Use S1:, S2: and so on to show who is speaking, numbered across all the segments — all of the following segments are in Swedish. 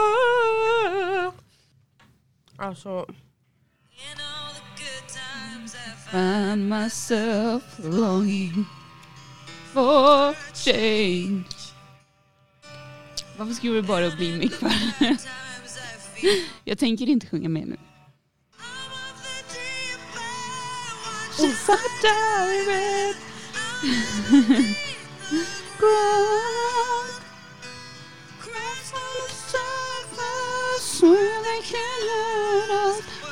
S1: ha. Alltså, find myself longing for change. Varför skulle det bara bli mig för? Jag tänker inte sjunga med nu.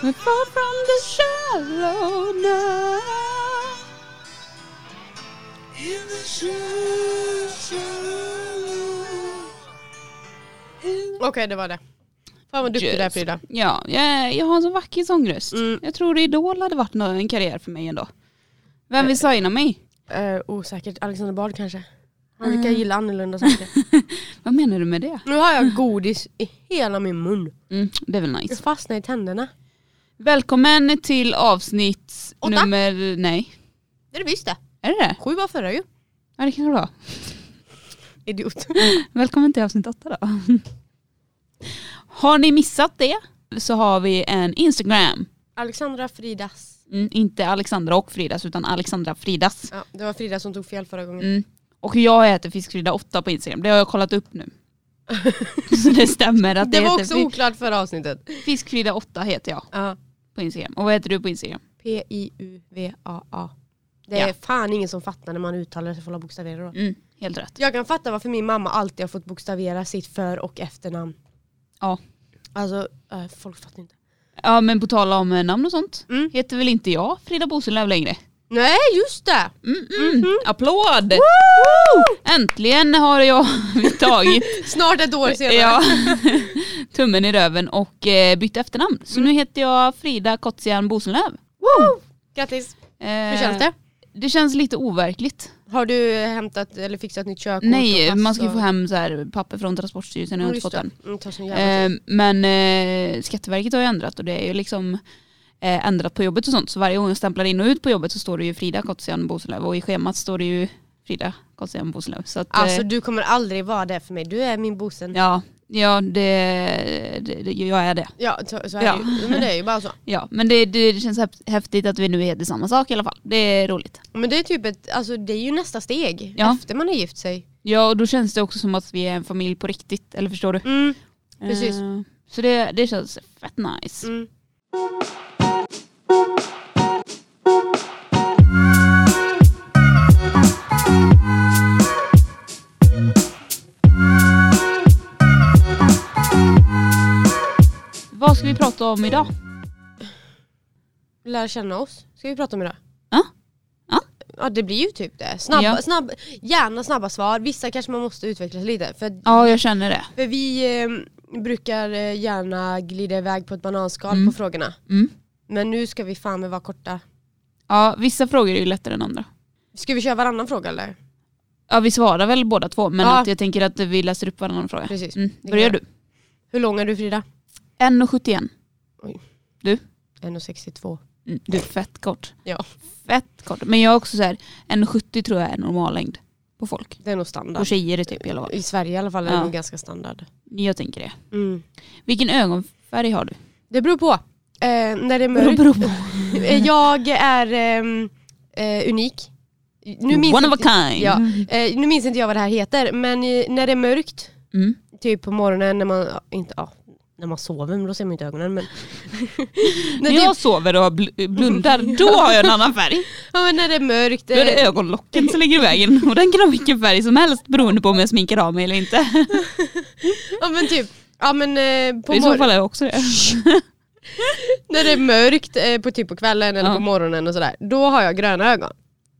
S1: We fall from the shallow now.
S2: Okej, det var det. Fan vad duktig du är
S1: Just.
S2: Frida.
S1: Ja, jag, jag har en så vacker sångröst.
S2: Mm.
S1: Jag tror Idol hade varit nå- en karriär för mig ändå. Vem vill signa mig?
S2: Eh, osäkert, Alexander Bard kanske. Han brukar gilla annorlunda saker.
S1: Vad menar du med det?
S2: Mm. nu har jag godis i hela min mun.
S1: Mm, det är väl
S2: Jag
S1: nice.
S2: fastnar i tänderna.
S1: Välkommen till avsnitt
S2: Åtta.
S1: nummer... Nej.
S2: Det är det visst det.
S1: Är det det?
S2: Sju var förra ju.
S1: Ja det kan det vara.
S2: Idiot.
S1: Välkommen till avsnitt åtta då. Har ni missat det så har vi en Instagram.
S2: Alexandra Fridas.
S1: Mm, inte Alexandra och Fridas utan Alexandra Fridas.
S2: Ja, det var Frida som tog fel förra gången.
S1: Mm. Och jag heter Fiskfrida8 på Instagram, det har jag kollat upp nu. så det stämmer att det,
S2: Det var
S1: heter
S2: också
S1: Fi-
S2: oklart förra avsnittet.
S1: Fiskfrida8 heter jag
S2: Ja.
S1: på Instagram. Och vad heter du på Instagram?
S2: P-I-U-V-A-A. Det
S1: Ja.
S2: är fan ingen som fattar när man uttalar sig för alla bokstaverer då.
S1: Mm, helt rätt.
S2: Jag kan fatta varför min mamma alltid har fått bokstavera sitt för och efternamn.
S1: Ja.
S2: Alltså, eh, folk fattar inte.
S1: Ja men på tal om eh, namn och sånt,
S2: Mm.
S1: heter väl inte jag Frida Boselöv längre?
S2: Nej just det!
S1: Mm,
S2: Mm-hmm.
S1: mm. Applåd! Äntligen har jag tagit
S2: Snart ett år senare.
S1: ja, tummen i röven och eh, bytt efternamn. Så
S2: Mm.
S1: nu heter jag Frida Kotsian Bosenlöv.
S2: Woo! Grattis!
S1: Eh,
S2: Hur känns det?
S1: Det känns lite overkligt.
S2: Har du hämtat eller fixat nytt körkort? och
S1: Nej,
S2: pass
S1: man ska ju
S2: och-
S1: få hem så här, papper från Transportstyrelsen, jag har
S2: Mm,
S1: inte fått
S2: alltså- just det.
S1: den.
S2: Mm, tar sån jävla
S1: Eh, men eh, Skatteverket har ju ändrat och det är ju liksom eh, ändrat på jobbet och sånt. Så varje gång jag stämplar in och ut på jobbet så står det ju Frida Kotsian Bosenlöv och i schemat står det ju Frida Kotsian Bosenlöv. Så att, eh,
S2: Alltså du kommer aldrig vara det för mig, du är min bosen. Ja,
S1: ja, ja det, det, det, jag är det.
S2: så, så är
S1: Ja.
S2: det ju. Men det är ju bara så.
S1: Ja, men det, det, det känns häf- häftigt att vi nu heter samma sak i alla fall. Det är roligt.
S2: Men det är typ ett, alltså det är ju nästa steg
S1: Ja.
S2: efter man har gift sig.
S1: Ja, och då känns det också som att vi är en familj på riktigt. Eller förstår du?
S2: Mm, precis.
S1: Eh, så det, det känns fett nice.
S2: Mm.
S1: Vad ska vi prata om idag?
S2: Lära känna oss, ska vi prata om idag.
S1: Ja. Ja.
S2: Ja det blir ju typ det. Snabba,
S1: Ja.
S2: snabb, gärna snabba svar, vissa kanske man måste utvecklas lite. För,
S1: Ja, jag känner det.
S2: för vi eh, brukar eh, gärna glida iväg på ett bananskal
S1: Mm.
S2: på frågorna.
S1: Mm.
S2: Men nu ska vi fan med vara korta.
S1: Ja, vissa frågor är ju lättare än andra.
S2: Ska vi köra varannan fråga eller?
S1: Ja, vi svarar väl båda två, men
S2: Ja.
S1: att jag tänker att vi läser upp varannan fråga.
S2: Precis.
S1: Mm.
S2: kan
S1: Börjar
S2: jag.
S1: du?
S2: Hur lång är du Frida?
S1: 1,71.
S2: 1,62.
S1: Mm. Du är fett kort.
S2: Ja.
S1: Fett kort. Men jag är också så här, 1,70 tror jag är normal längd på folk.
S2: Det är nog standard.
S1: På tjejer är typ i alla fall.
S2: I Sverige i alla fall är det
S1: Ja.
S2: nog ganska standard. Mm.
S1: Jag tänker det. Vilken ögonfärg har du?
S2: Det beror på. Eh, när det är
S1: Det
S2: mörkt.
S1: beror på.
S2: Eh, Jag är ehm, eh, unik. Nu minns,
S1: One of a
S2: inte,
S1: kind. Mm.
S2: Ja. eh, nu minns inte jag vad det här heter men eh, när det är mörkt,
S1: Mm.
S2: typ på morgonen när man, ja, inte, ja, när man sover, men då ser man inte ögonen. Men när, typ,
S1: När
S2: det,
S1: jag sover och bl- blundar, då har jag en annan färg.
S2: ja, men när det är mörkt,
S1: Då är
S2: eh,
S1: det ögonlocken som ligger i vägen. Och den kan ha vilken färg som helst beroende på om jag sminkar av mig eller inte.
S2: ja, men typ, ja, men, eh, på
S1: I så
S2: mor-
S1: fall är jag också det.
S2: när det är mörkt eh, på, typ på kvällen eller
S1: Ja.
S2: på morgonen och sådär, då har jag gröna ögon.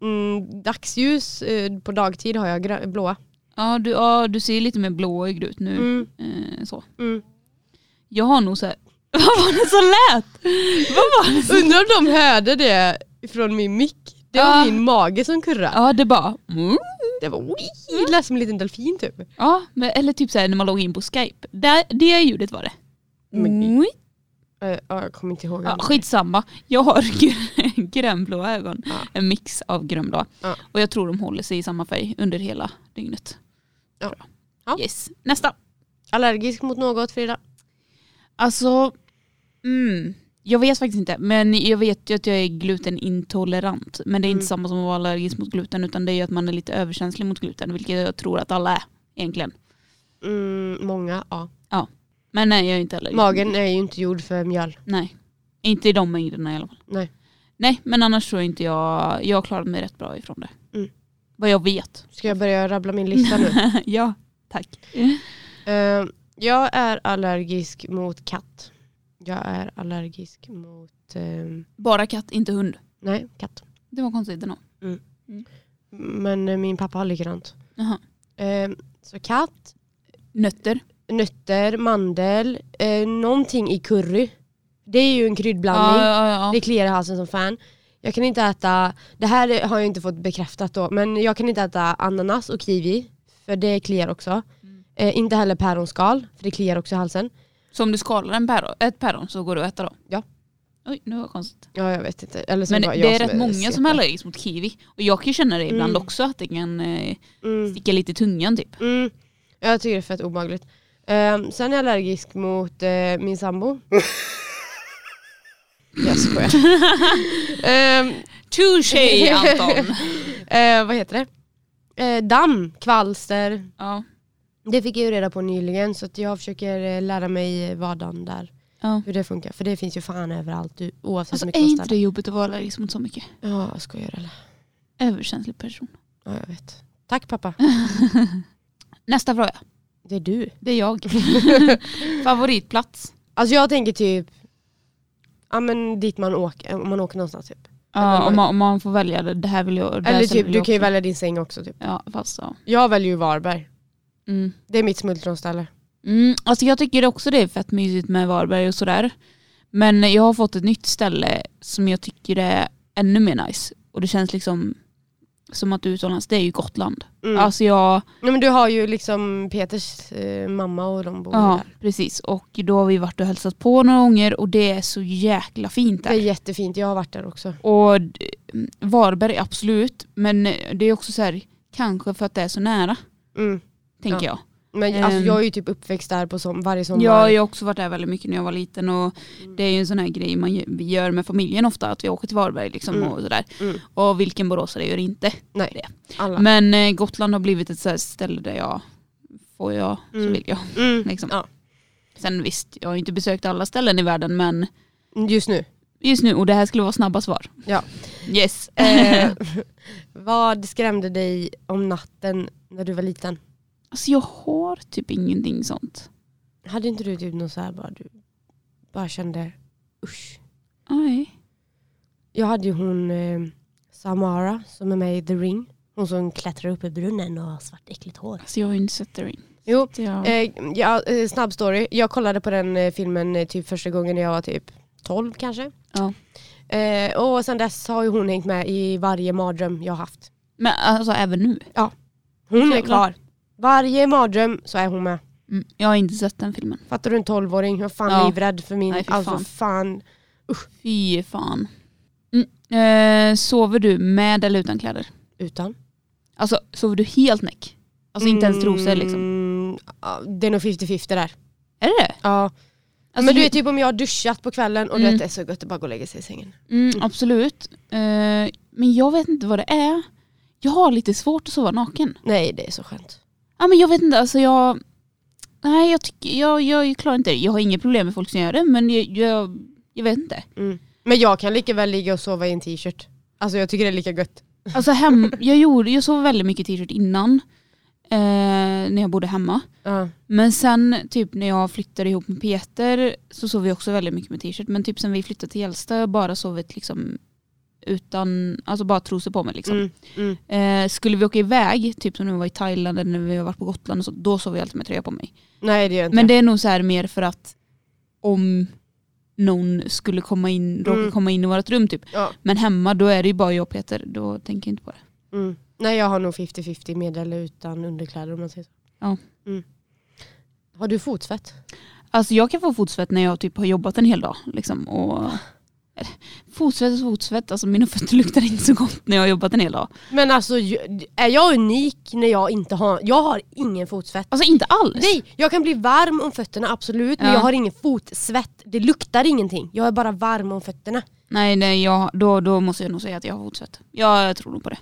S2: Mm, dagsljus eh, på dagtid har jag grö- blåa.
S1: Ja du, ja, du ser lite mer blåögd ut nu.
S2: Mm,
S1: Eh, så.
S2: mm.
S1: Jag har nog så här... Vad var det som lät? Vad var det som...
S2: mm. Undrar om de hörde det från min mick. Det var
S1: Ja.
S2: min mage som kurrade.
S1: Ja det bara... Mm.
S2: Det var oj, det lät som en liten delfin typ.
S1: Ja, men, eller typ så här när man loggar in på skype. Där, det ljudet var det.
S2: Men-
S1: Mm.
S2: Eh, ja, jag kommer inte ihåg.
S1: Ja,
S2: Ja,
S1: skitsamma, jag har gr- grönblåa ögon.
S2: Ja.
S1: En mix av grönblåa.
S2: Ja.
S1: Och jag tror de håller sig i samma färg under hela dygnet.
S2: Ja.
S1: Bra.
S2: Ja.
S1: Yes. Nästa.
S2: Allergisk mot något Frida?
S1: Alltså, mm, jag vet faktiskt inte. Men jag vet ju att jag är glutenintolerant. Men det är inte
S2: Mm.
S1: samma som att vara allergisk mot gluten utan det är ju att man är lite överkänslig mot gluten. Vilket jag tror att alla är egentligen.
S2: Mm, många, ja.
S1: Men nej jag är inte allergisk.
S2: Magen är ju inte gjord för mjöl.
S1: Nej. Inte i de mängderna i alla fall.
S2: Nej.
S1: Nej men annars tror jag inte jag, jag har klarat mig rätt bra ifrån det.
S2: Mm.
S1: Vad jag vet.
S2: Ska jag börja rabbla min lista nu?
S1: ja, tack.
S2: Eh, jag är allergisk mot katt. Jag är allergisk mot... ehm,
S1: Bara katt, inte hund.
S2: nej, katt.
S1: Det var konstigt ändå.
S2: Men eh, min pappa har likadant.
S1: Jaha.
S2: Eh, så katt,
S1: Nötter.
S2: nötter, mandel, eh, någonting i curry. Det är ju en kryddblandning.
S1: ja, ja.
S2: Det kliar i halsen som fan. Jag kan inte äta, det här har jag inte fått bekräftat då, men jag kan inte äta ananas och kiwi. För det kliar också.
S1: Mm.
S2: Eh, inte heller päronskal, för det kliar också i halsen.
S1: Så om du skalar en päron, ett päron så går det att äta då?
S2: Ja.
S1: Oj, nu var det konstigt.
S2: Ja, jag vet inte. Eller så
S1: Men
S2: bara
S1: det
S2: jag
S1: är rätt många som är
S2: CP.
S1: allergisk mot kiwi. Och jag kan ju känna det ibland
S2: Mm.
S1: också att det kan eh,
S2: Mm.
S1: sticka lite i tungan typ.
S2: Mm. Jag tycker det är fett obehagligt. Ehm, sen är jag allergisk mot eh, min sambo. jag skojar. Ehm,
S1: Touché Anton!
S2: eh, vad heter det? Eh, damm, kvalster.
S1: ja.
S2: Det fick jag ju reda på nyligen så att jag försöker eh, lära mig vardagen där.
S1: ja.
S2: Hur det funkar. För det finns ju fan överallt du, oavsett
S1: Alltså
S2: hur
S1: är
S2: mycket man
S1: inte det
S2: ställer.
S1: jobbigt att vara allergisk mot så mycket?
S2: Ja, jag skojar eller?
S1: Överkänslig person.
S2: Ja, jag vet. Tack pappa.
S1: Nästa fråga.
S2: Det är du.
S1: Det är jag. Favoritplats?
S2: Alltså jag tänker typ, ja men dit man åker, om man åker någonstans typ.
S1: Ja, om, man, om man får välja det, det här vill jag. Det här
S2: Eller
S1: stället
S2: typ,
S1: vill
S2: du
S1: jag
S2: kan ju
S1: åka till.
S2: välja din säng också typ.
S1: Ja, fast ja.
S2: Jag väljer ju Varberg.
S1: Mm.
S2: Det är mitt smultronställe.
S1: Mm, alltså jag tycker också det är fett mysigt med Varberg och sådär. Men jag har fått ett nytt ställe som jag tycker är ännu mer nice. Och det känns liksom som att du är utomlands. Det är ju Gotland.
S2: Mm.
S1: Alltså jag,
S2: Nej, men du har ju liksom Peters eh, mamma och de bor ju
S1: ja
S2: där.
S1: precis. Och då har vi varit och hälsat på några gånger och det är så jäkla fint
S2: Det är
S1: där.
S2: jättefint, jag har varit där också.
S1: Och d- Varberg absolut, men det är också så här kanske för att det är så nära,
S2: Mm.
S1: tänker jag.
S2: Men alltså,
S1: Ehm.
S2: jag är ju typ uppväxt där på som, varje sommar.
S1: Ja, jag har också varit där väldigt mycket när jag var liten och
S2: Mm.
S1: det är ju en sån här grej man gö- vi gör med familjen ofta, att vi åker till Varberg liksom
S2: Mm.
S1: och sådär.
S2: Mm.
S1: Och vilken boråsare gör inte?
S2: Nej, alla.
S1: Men eh, Gotland har blivit ett så här ställe där jag får jag så
S2: Mm.
S1: vill jag.
S2: Mm.
S1: Liksom.
S2: Ja.
S1: Sen visst, jag har inte besökt alla ställen i världen men
S2: Mm, Just nu.
S1: just nu, och det här skulle vara snabba svar.
S2: Ja.
S1: Yes.
S2: Eh, vad skrämde dig om natten när du var liten?
S1: Alltså jag har typ ingenting sånt.
S2: Hade inte du typ någon så här bara, du bara kände usch.
S1: Nej.
S2: Jag hade ju hon eh, Samara som är med i The Ring. Hon som klättrar upp i brunnen och har svart äckligt hår.
S1: Alltså jag har ju inte sett The Ring.
S2: Jo,
S1: Så jag-
S2: Eh, ja, eh, snabb story. Jag kollade på den eh, filmen eh, typ första gången när jag var typ 12 kanske.
S1: Ja.
S2: Eh, och sen dess har ju hon hängt med i varje mardröm jag har haft.
S1: Men alltså även nu.
S2: Hon är
S1: Jävlar.
S2: kvar. Varje mardröm så är hon med.
S1: Mm. Jag har inte sett den filmen.
S2: Fattar du en 12-åring? Jag är fan
S1: Ja.
S2: livrädd för min...
S1: Nej, fy
S2: alltså
S1: fan.
S2: fan.
S1: Fy fan. Mm. Eh, sover du med eller utan kläder?
S2: Utan.
S1: Alltså sover du helt näck? Alltså inte ens trosor liksom?
S2: Mm, ja, det är nog 50-50 där.
S1: Är det det
S2: Ja.
S1: alltså,
S2: Men du
S1: ju-
S2: vet typ om jag har duschat på kvällen och du
S1: Mm.
S2: vet, det är så gött att bara gå och lägga sig i sängen.
S1: mm, Absolut. Eh, men jag vet inte vad det är. Jag har lite svårt att sova naken.
S2: Nej det är så skönt.
S1: Ja, men jag vet inte, alltså jag... Nej jag, tycker, jag, jag klarar inte det. Jag har inga problem med folk som gör det men jag, jag, jag vet inte.
S2: Mm. Men jag kan lika väl ligga och sova i en t-shirt. Alltså jag tycker det är lika gött.
S1: Alltså hem, jag, gjorde, jag sov väldigt mycket i t-shirt innan. Eh, när jag bodde hemma.
S2: Ja.
S1: Men sen typ när jag flyttade ihop med Peter så sov vi också väldigt mycket med t-shirt. Men typ sen vi flyttade till Hjälsta har jag bara sovit liksom utan, alltså bara trosor på mig liksom.
S2: Mm, mm.
S1: Eh, skulle vi åka iväg, typ som när vi var i Thailand eller när vi har varit på Gotland och så, då sov vi alltid med tröja på mig.
S2: Nej det gör jag inte.
S1: Men det är nog så här mer för att om någon skulle komma in, råka
S2: Mm.
S1: komma in i vårt rum typ.
S2: Ja.
S1: Men hemma då är det ju bara jag och Peter, då tänker jag inte på det.
S2: Mm. Nej jag har nog 50-50 med eller utan underkläder om man säger så.
S1: Ja.
S2: Mm. Har du fotsvett?
S1: Alltså jag kan få fotsvett när jag typ har jobbat en hel dag liksom, och Fotsvett och fotsvett, alltså mina fötter luktar inte så gott när jag har jobbat en hel dag.
S2: Men alltså ju- är jag unik när jag inte har, jag har ingen fotsvett.
S1: Alltså inte alls.
S2: Nej, jag kan bli varm om fötterna absolut men
S1: Ja.
S2: jag har ingen fotsvett. Det luktar ingenting. Jag är bara varm om fötterna.
S1: Nej, nej jag, då, då måste jag nog säga att jag har fotsvett. Ja, jag tror nog på det.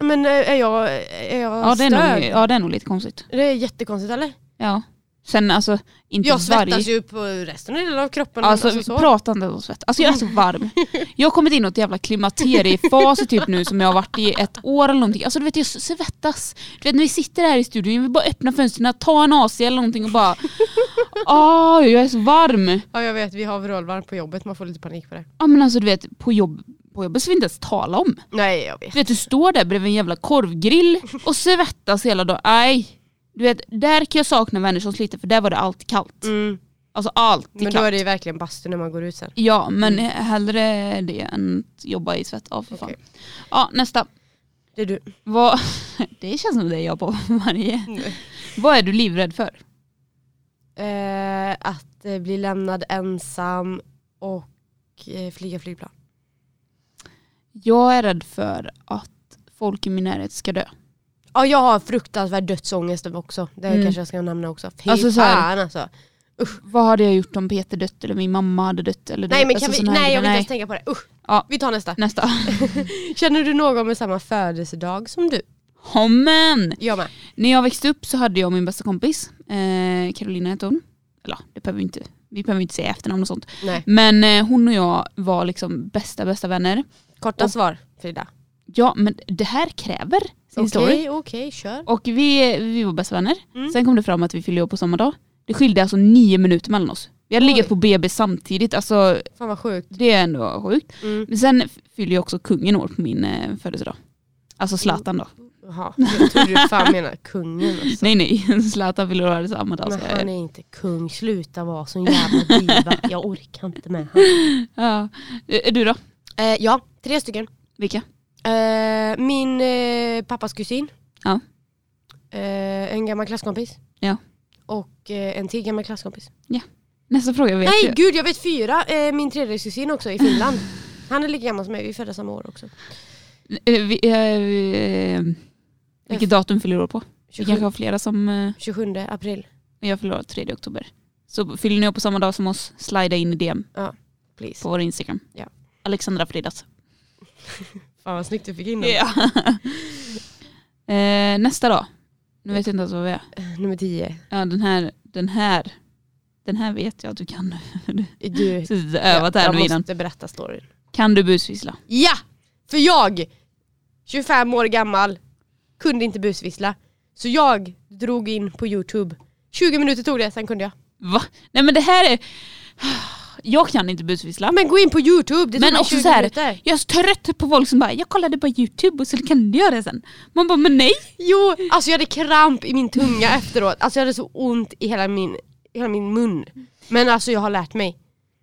S2: Men eh, är jag, är jag
S1: Ja det, är nog,
S2: störd?
S1: ja, det är nog lite konstigt.
S2: Det är jättekonstigt eller?
S1: Ja. Sen alltså, inte
S2: Jag
S1: varje...
S2: svettas ju på resten av kroppen.
S1: Alltså,
S2: så.
S1: pratande om svett. Alltså jag är så varm. Jag har kommit in i ett jävla klimakteriefas typ nu som jag har varit i ett år eller någonting. Alltså du vet jag svettas. Du vet när vi sitter här i studion, jag vill bara öppna fönstren, ta en AC eller någonting och bara... Åh, jag är så varm.
S2: Ja jag vet, vi har vrålvarm på jobbet, man får lite panik på det.
S1: Ja men alltså du vet, på, jobb, på jobbet ska vi inte ens tala om.
S2: Nej jag vet.
S1: Du vet du står där bredvid en jävla korvgrill och svettas hela dagen. Nej. Du vet, där kan jag sakna vänner som sliter för där var det alltid kallt.
S2: Mm.
S1: Alltså alltid
S2: Men
S1: kallt.
S2: då är det ju verkligen bastu när man går ut sen.
S1: Ja, men hellre det än att jobba i svett. Ja, för fan.
S2: Mm. Okej.
S1: Ja, nästa.
S2: Det är du.
S1: Vad, det känns som det är jag på varje. Vad är du livrädd för?
S2: Eh, att eh, bli lämnad ensam och eh, flyga flygplan.
S1: Jag är rädd för att folk i min närhet ska dö.
S2: Ja jag har fruktansvärd dödsångest också. Det
S1: Mm.
S2: kanske jag ska nämna också. Fy
S1: Alltså, så här-
S2: fan alltså.
S1: Vad hade jag gjort om Peter dött eller min mamma hade dött? Eller
S2: Nej men kan
S1: alltså
S2: vi,
S1: sån här
S2: nej jag vill
S1: grej.
S2: inte ens tänka på det. Usch.
S1: Ja.
S2: Vi tar nästa.
S1: Nästa.
S2: Känner du någon med samma födelsedag som du?
S1: Oh, men.
S2: Jag med.
S1: När jag växte upp så hade jag min bästa kompis, eh, Carolina hette hon. Eller ja, det behöver vi inte, vi behöver inte säga efternamn och sånt.
S2: Nej.
S1: Men eh, hon och jag var liksom bästa bästa vänner.
S2: Korta
S1: Och-
S2: svar Frida.
S1: Ja men det här kräver sin
S2: Okej,
S1: story.
S2: okej, kör.
S1: Och vi, vi var bästa vänner.
S2: Mm.
S1: Sen kom det fram att vi fyllde år på samma dag. Det skilde alltså nio minuter mellan oss. Vi hade
S2: Oj.
S1: legat på BB samtidigt, alltså
S2: Fan vad sjukt.
S1: det är ändå sjukt.
S2: Mm.
S1: Men sen f- fyllde ju också kungen år på min eh, födelsedag. Alltså Zlatan då.
S2: Jaha, jag trodde du fan menade kungen alltså.
S1: Nej nej, Zlatan fyller år samma dag.
S2: Men
S1: så jag-
S2: han är inte kung, sluta vara sån jävla diva. Jag orkar inte med han.
S1: ja. Eh, Du då?
S2: Eh, ja, tre stycken.
S1: Vilka?
S2: Eh, min eh, pappas kusin.
S1: Ja.
S2: Eh, en gammal klasskompis.
S1: Ja.
S2: Och eh, en till gammal klasskompis.
S1: Nästa fråga vet
S2: Nej
S1: jag.
S2: gud, jag vet fyra. Eh, min tredje kusin också i Finland. Han är lika gammal som mig, vi är födda samma år också.
S1: Eh, Vi, eh, vi, eh, vilket datum fyller du år på? Vi
S2: 27,
S1: kanske har flera som eh,
S2: 27 april,
S1: jag fyller år 3 oktober. Så fyller ni år på samma dag som oss, slida in i DM
S2: please.
S1: på vår Instagram.
S2: Ja.
S1: Alexandra Fridas.
S2: Fan vad snyggt du fick in
S1: Ja. eh, nästa då. Nu vet jag inte ens vad vi är.
S2: Nummer tio.
S1: Ja, den här, den här. Den här vet jag att du kan.
S2: Du,
S1: Precis, du har övat här
S2: jag
S1: nu innan.
S2: måste berätta storyn.
S1: Kan du busvissla?
S2: Ja! För jag, 25 år gammal, kunde inte busvissla. Så jag drog in på youtube. 20 minuter tog det, sen kunde jag.
S1: Va? Nej men det här är... Jag kan inte busvissla.
S2: Ja, men gå in på youtube, det tog
S1: Men
S2: mig
S1: också
S2: 20
S1: så här-
S2: minuter.
S1: Jag är så trött på folk som bara, jag kollade på youtube och så kan du göra det sen. Man bara, men nej.
S2: Jo, alltså jag hade kramp i min tunga efteråt. Alltså jag hade så ont i hela min, hela min mun. Men alltså jag har lärt mig.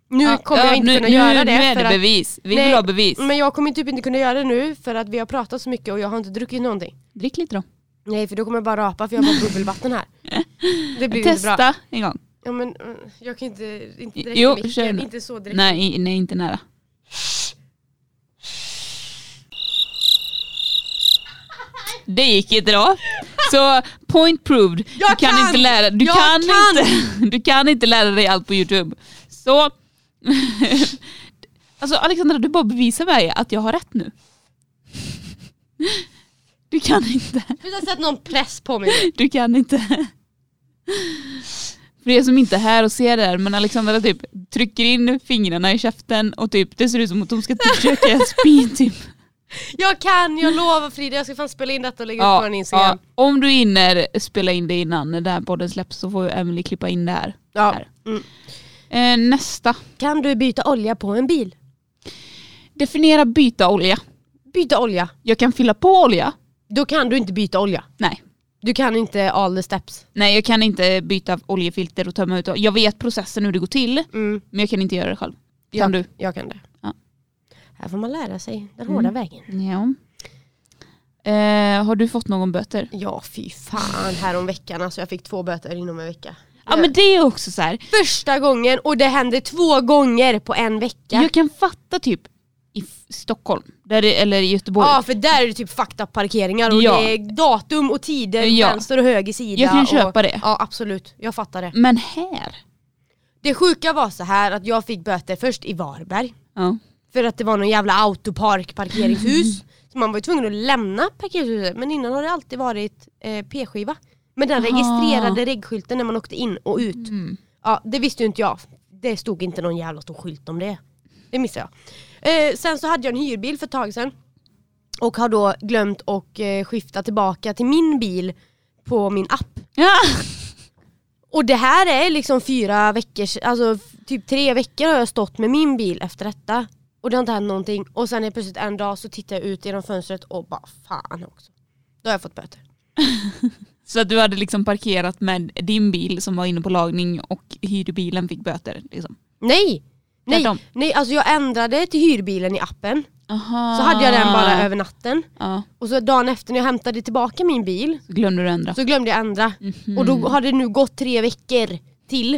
S2: Nu
S1: Ja,
S2: kommer
S1: ja,
S2: jag inte
S1: nu,
S2: kunna
S1: nu,
S2: göra det.
S1: Nu är
S2: för
S1: det
S2: att,
S1: bevis. Vi
S2: Nej,
S1: vill ha bevis.
S2: men jag kommer typ inte kunna göra det nu för att vi har pratat så mycket och jag har inte druckit någonting.
S1: Drick lite då.
S2: Nej för då kommer jag bara rapa för jag har bara bubbelvatten här. Det blir inte bra.
S1: Testa en gång.
S2: Ja men eh, jag kan inte, inte direkt
S1: Jo,
S2: i micken,
S1: kör nu.
S2: inte så direkt.
S1: Nej, i- nej, inte nära. Det gick inte då. Så point proved.
S2: Jag
S1: du kan,
S2: kan!
S1: inte lära du
S2: Jag
S1: kan,
S2: kan!
S1: Inte, du kan inte lära dig allt på Youtube. Så Alltså Alexandra du bara bevisar mig att jag har rätt nu. Du kan inte.
S2: Sluta sätta någon press på mig.
S1: Du kan inte. För er som inte är här och ser det här, men Alexandra typ trycker in fingrarna i käften och typ det ser ut som att hon ska typ köka ett spy typ.
S2: Jag kan, jag lovar Frida, jag ska fan spela in detta och lägga ut på en
S1: ja.
S2: Instagram.
S1: Om du hinner spela in det innan den här podden släpps så får ju Emily klippa in det här.
S2: Ja.
S1: Här.
S2: Mm.
S1: Eh, nästa.
S2: Kan du byta olja på en bil?
S1: Definiera byta olja.
S2: Byta olja.
S1: Jag kan fylla på olja.
S2: Då kan du inte byta olja.
S1: Nej.
S2: Du kan inte all the steps.
S1: Nej jag kan inte byta oljefilter och tömma ut. Jag vet processen hur det går till
S2: Mm,
S1: men jag kan inte göra det själv. Kan
S2: jag,
S1: du?
S2: Jag kan det.
S1: Ja.
S2: Här får man lära sig den
S1: Mm.
S2: hårda vägen.
S1: Ja. Eh, har du fått någon böter?
S2: Ja fy fan häromveckan alltså jag fick två böter inom en vecka.
S1: Ja men det är också så här.
S2: Första gången och det händer två gånger på en vecka.
S1: Jag kan fatta typ i F- Stockholm, där det, eller i Göteborg.
S2: Ja för där är det typ fakta parkeringar och
S1: Ja.
S2: det är datum och tider,
S1: Ja.
S2: vänster och höger sida.
S1: Jag kan
S2: och,
S1: köpa det.
S2: Ja absolut, jag fattar det.
S1: Men här?
S2: Det sjuka var så här att jag fick böter först i Varberg.
S1: Ja.
S2: För att det var någon jävla autopark parkeringshus. Så man var ju tvungen att lämna parkeringshuset. Men innan har det alltid varit eh, p-skiva. Men den
S1: Aha.
S2: registrerade regskylten när man åkte in och ut.
S1: Mm.
S2: Ja, det visste ju inte jag. Det stod inte någon jävla stor skylt om det. Det missade jag. Eh, sen så hade jag en hyrbil för ett tag sedan. Och har då glömt och eh, skifta tillbaka till min bil på min app.
S1: Ja.
S2: Och det här är liksom fyra veckor, alltså f- typ tre veckor har jag stått med min bil efter detta. Och det har inte hänt någonting. Och sen är plötsligt en dag så tittar jag ut genom fönstret och bara fan också. Då har jag fått böter.
S1: Så att du hade liksom parkerat med din bil som var inne på lagning och hyrbilen fick böter. Liksom.
S2: Nej! Nej,
S1: Tvärtom.
S2: nej, alltså jag ändrade till hyrbilen i appen.
S1: Aha.
S2: Så hade jag den
S1: Ah.
S2: bara över natten.
S1: Ja,
S2: Och så dagen efter när jag hämtade tillbaka min bil
S1: så glömde du ändra.
S2: så glömde jag ändra.
S1: Mhm.
S2: Och
S1: Mm.
S2: då har det nu gått tre veckor till.